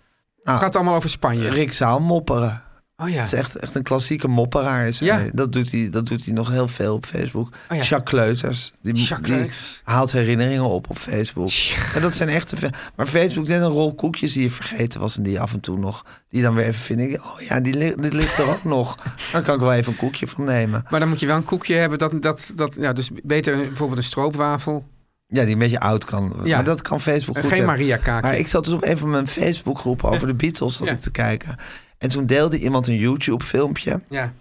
C: Nou,
D: Gaat het allemaal over Spanje?
C: Rick Zaal mopperen.
D: oh ja.
C: Het is echt, echt een klassieke mopperaar. Is
D: Ja.
C: hij. Dat, doet hij, dat doet hij nog heel veel op Facebook.
D: Oh ja.
C: Jacques Kleuters. Die,
D: Jacques
C: die
D: Kleuters.
C: haalt herinneringen op op Facebook. En dat zijn echte... fa- Maar Facebook net een rol koekjes die je vergeten was... en die je af en toe nog... die dan weer even vind ik... oh ja, die, li- dit ligt er ook nog. Daar kan ik wel even een koekje van nemen.
D: Maar dan moet je wel een koekje hebben. Dat, dat, dat, ja, dus beter een- bijvoorbeeld een stroopwafel.
C: Ja, die een beetje oud kan.
D: Ja.
C: Maar dat kan Facebook
D: En
C: goed
D: geen
C: hebben.
D: Maria kaakje.
C: Maar ik zat dus op een van mijn Facebook groepen... over de Beatles zat
D: Ja.
C: ik te kijken. En toen deelde iemand een YouTube filmpje...
D: Ja.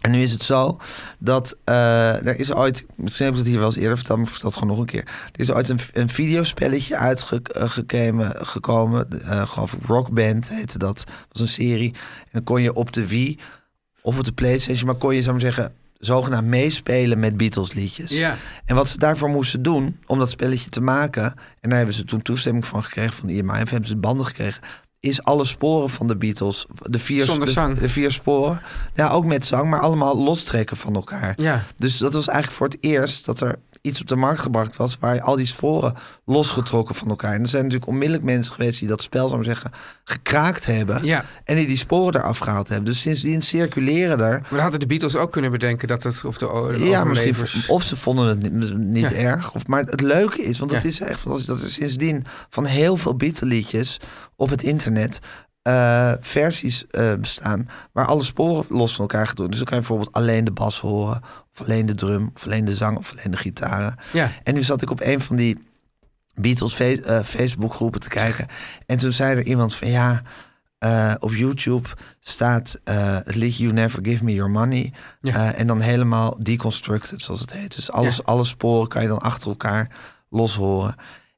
C: En nu is het zo dat eh, er is ooit, misschien heb ik het hier wel eens eerder verteld, maar ik vertel het gewoon nog een keer. Er is ooit een, een videospelletje uitgekomen, gekomen, eh geloof ik, Rock Band heette dat. Dat was een serie. En dan kon je op de Wii of op de Playstation, maar kon je, zou ik maar zeggen, zogenaamd meespelen met Beatles liedjes.
D: Ja.
C: En wat ze daarvoor moesten doen om dat spelletje te maken, en daar hebben ze toen toestemming van gekregen van de E IMA, en hebben ze banden gekregen, is alle sporen van de Beatles, de vier,
D: Zonder
C: de,
D: zang.
C: de vier sporen, ja, ook met zang, maar allemaal lostrekken van elkaar.
D: Ja.
C: Dus dat was eigenlijk voor het eerst dat er iets op de markt gebracht was waar al die sporen losgetrokken van elkaar. En er zijn natuurlijk onmiddellijk mensen geweest die dat spel, zou ik maar zeggen, gekraakt hebben.
D: Ja.
C: En die die sporen eraf gehaald hebben. Dus sindsdien circuleren er
D: Maar dan hadden de Beatles ook kunnen bedenken dat het... Of de, o- de
C: ja, misschien.
D: eh, overlevers-
C: Of ze vonden het niet, niet
D: Ja.
C: erg. Of, maar het leuke is, want dat
D: Ja.
C: is echt fantastisch, dat er sindsdien van heel veel Beatle-liedjes op het internet eh, versies eh, bestaan waar alle sporen los van elkaar gedoen. Dus dan kan je bijvoorbeeld alleen de bas horen, of alleen de drum, of alleen de zang, of alleen de gitaren.
D: Ja.
C: En nu zat ik op een van die Beatles fe- eh, Facebookgroepen te kijken. En toen zei er iemand van ja. eh, op YouTube staat eh, het liedje You Never Give Me Your Money.
D: Ja.
C: Eh, en dan helemaal deconstructed, zoals het heet. Dus alles,
D: Ja.
C: alle sporen kan je dan achter elkaar loshoren.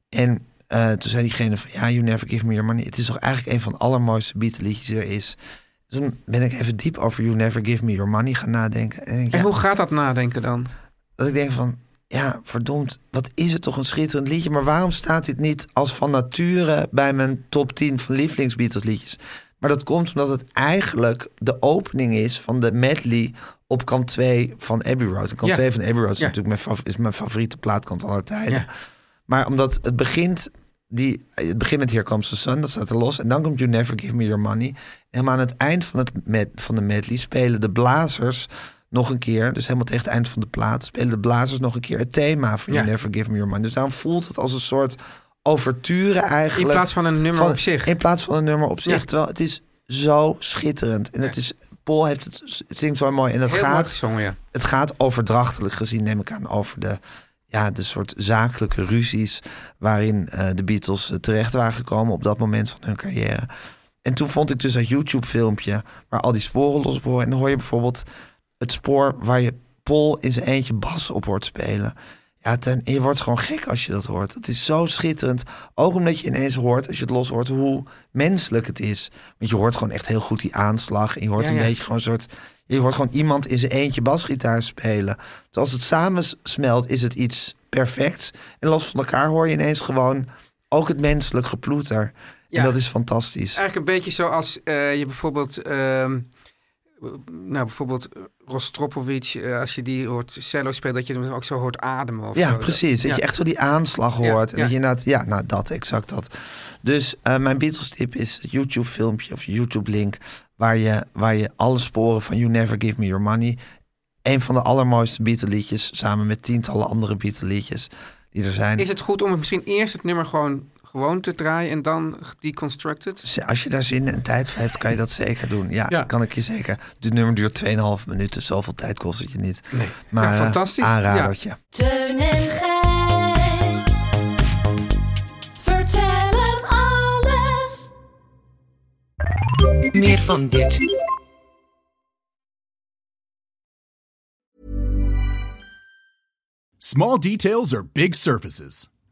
C: En eh, toen zei diegene van ja, You Never Give Me Your Money. Het is toch eigenlijk een van de allermooiste Beatle-liedjes die er is. Dus toen ben ik even diep over You Never Give Me Your Money gaan nadenken. En, ik,
D: En
C: ja,
D: hoe gaat dat nadenken dan?
C: dat ik denk van, ja, verdomd, wat is het toch een schitterend liedje. Maar waarom staat dit niet als van nature bij mijn top 10 van lievelings Beatles liedjes? Maar dat komt omdat het eigenlijk de opening is van de medley op kant 2 van Abbey Road. En kant
D: Ja.
C: 2 van Abbey Road is
D: Ja.
C: natuurlijk mijn, fav- is mijn favoriete plaatkant aller tijden.
D: Ja.
C: Maar omdat het begint, die, het begint met Here Comes the Sun, dat staat er los. En dan komt You Never Give Me Your Money. En aan het eind van, het med, van de medley spelen de blazers nog een keer. Dus helemaal tegen het eind van de plaat spelen de blazers nog een keer het thema van You
D: Ja.
C: Never Give Me Your Money. Dus daarom voelt het als een soort overture eigenlijk.
D: In plaats van een nummer op zich.
C: In plaats van een nummer op zich.
D: Ja.
C: Terwijl het is zo schitterend. En het is, Paul heeft het, zingt zo mooi. En het
D: Heel mooi
C: gaat
D: gezongen, ja.
C: het gaat overdrachtelijk gezien, neem ik aan, over de, ja, de soort zakelijke ruzies waarin eh, de Beatles eh, terecht waren gekomen op dat moment van hun carrière. En toen vond ik dus dat YouTube-filmpje waar al die sporen los op horen. En dan hoor je bijvoorbeeld het spoor waar je Paul in zijn eentje bas op hoort spelen. Ja, ten, je wordt gewoon gek als je dat hoort. Het is zo schitterend. Ook omdat je ineens hoort, als je het los hoort, hoe menselijk het is. Want je hoort gewoon echt heel goed die aanslag. En je hoort
D: Ja,
C: een
D: ja.
C: beetje gewoon een soort... Je hoort gewoon iemand in zijn eentje basgitaar spelen. Dus als het samen smelt, is het iets perfects. En los van elkaar hoor je ineens gewoon ook het menselijk geploeter.
D: Ja.
C: En dat is fantastisch.
D: Eigenlijk een beetje zoals eh, je bijvoorbeeld... ehm, nou, bijvoorbeeld Rostropovic, eh, als je die hoort cello spelen, dat je hem ook zo hoort ademen. Of
C: Ja,
D: zo.
C: precies. Dat
D: Ja.
C: je echt zo die aanslag hoort. En
D: ja.
C: dat je inderdaad, ja, nou dat, exact dat. Dus eh, mijn Beatles tip is het YouTube filmpje of YouTube link. Waar je, waar je alle sporen van You Never Give Me Your Money. Een van de allermooiste Beatle liedjes. Samen met tientallen andere Beatle liedjes die er zijn.
D: Is het goed om misschien eerst het nummer gewoon, gewoon te draaien en dan deconstructed?
C: Dus Als je daar zin en tijd voor hebt, kan je dat zeker doen. Ja,
B: Ja.
C: kan ik je zeker. Dit nummer duurt 2,5 minuten. Zoveel tijd kost het je niet.
D: Nee.
C: Maar
D: Ja,
C: eh,
D: fantastisch. Ja.
C: aanradertje.
E: Teun en Gijs. Vertel hem alles.
G: Meer van dit.
H: Small details are big surfaces.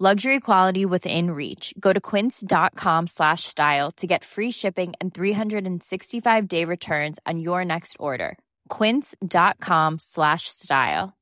I: Luxury quality within reach. Go to quince.com slash style to get free shipping and 365 day returns on your next order. Quince.com slash style.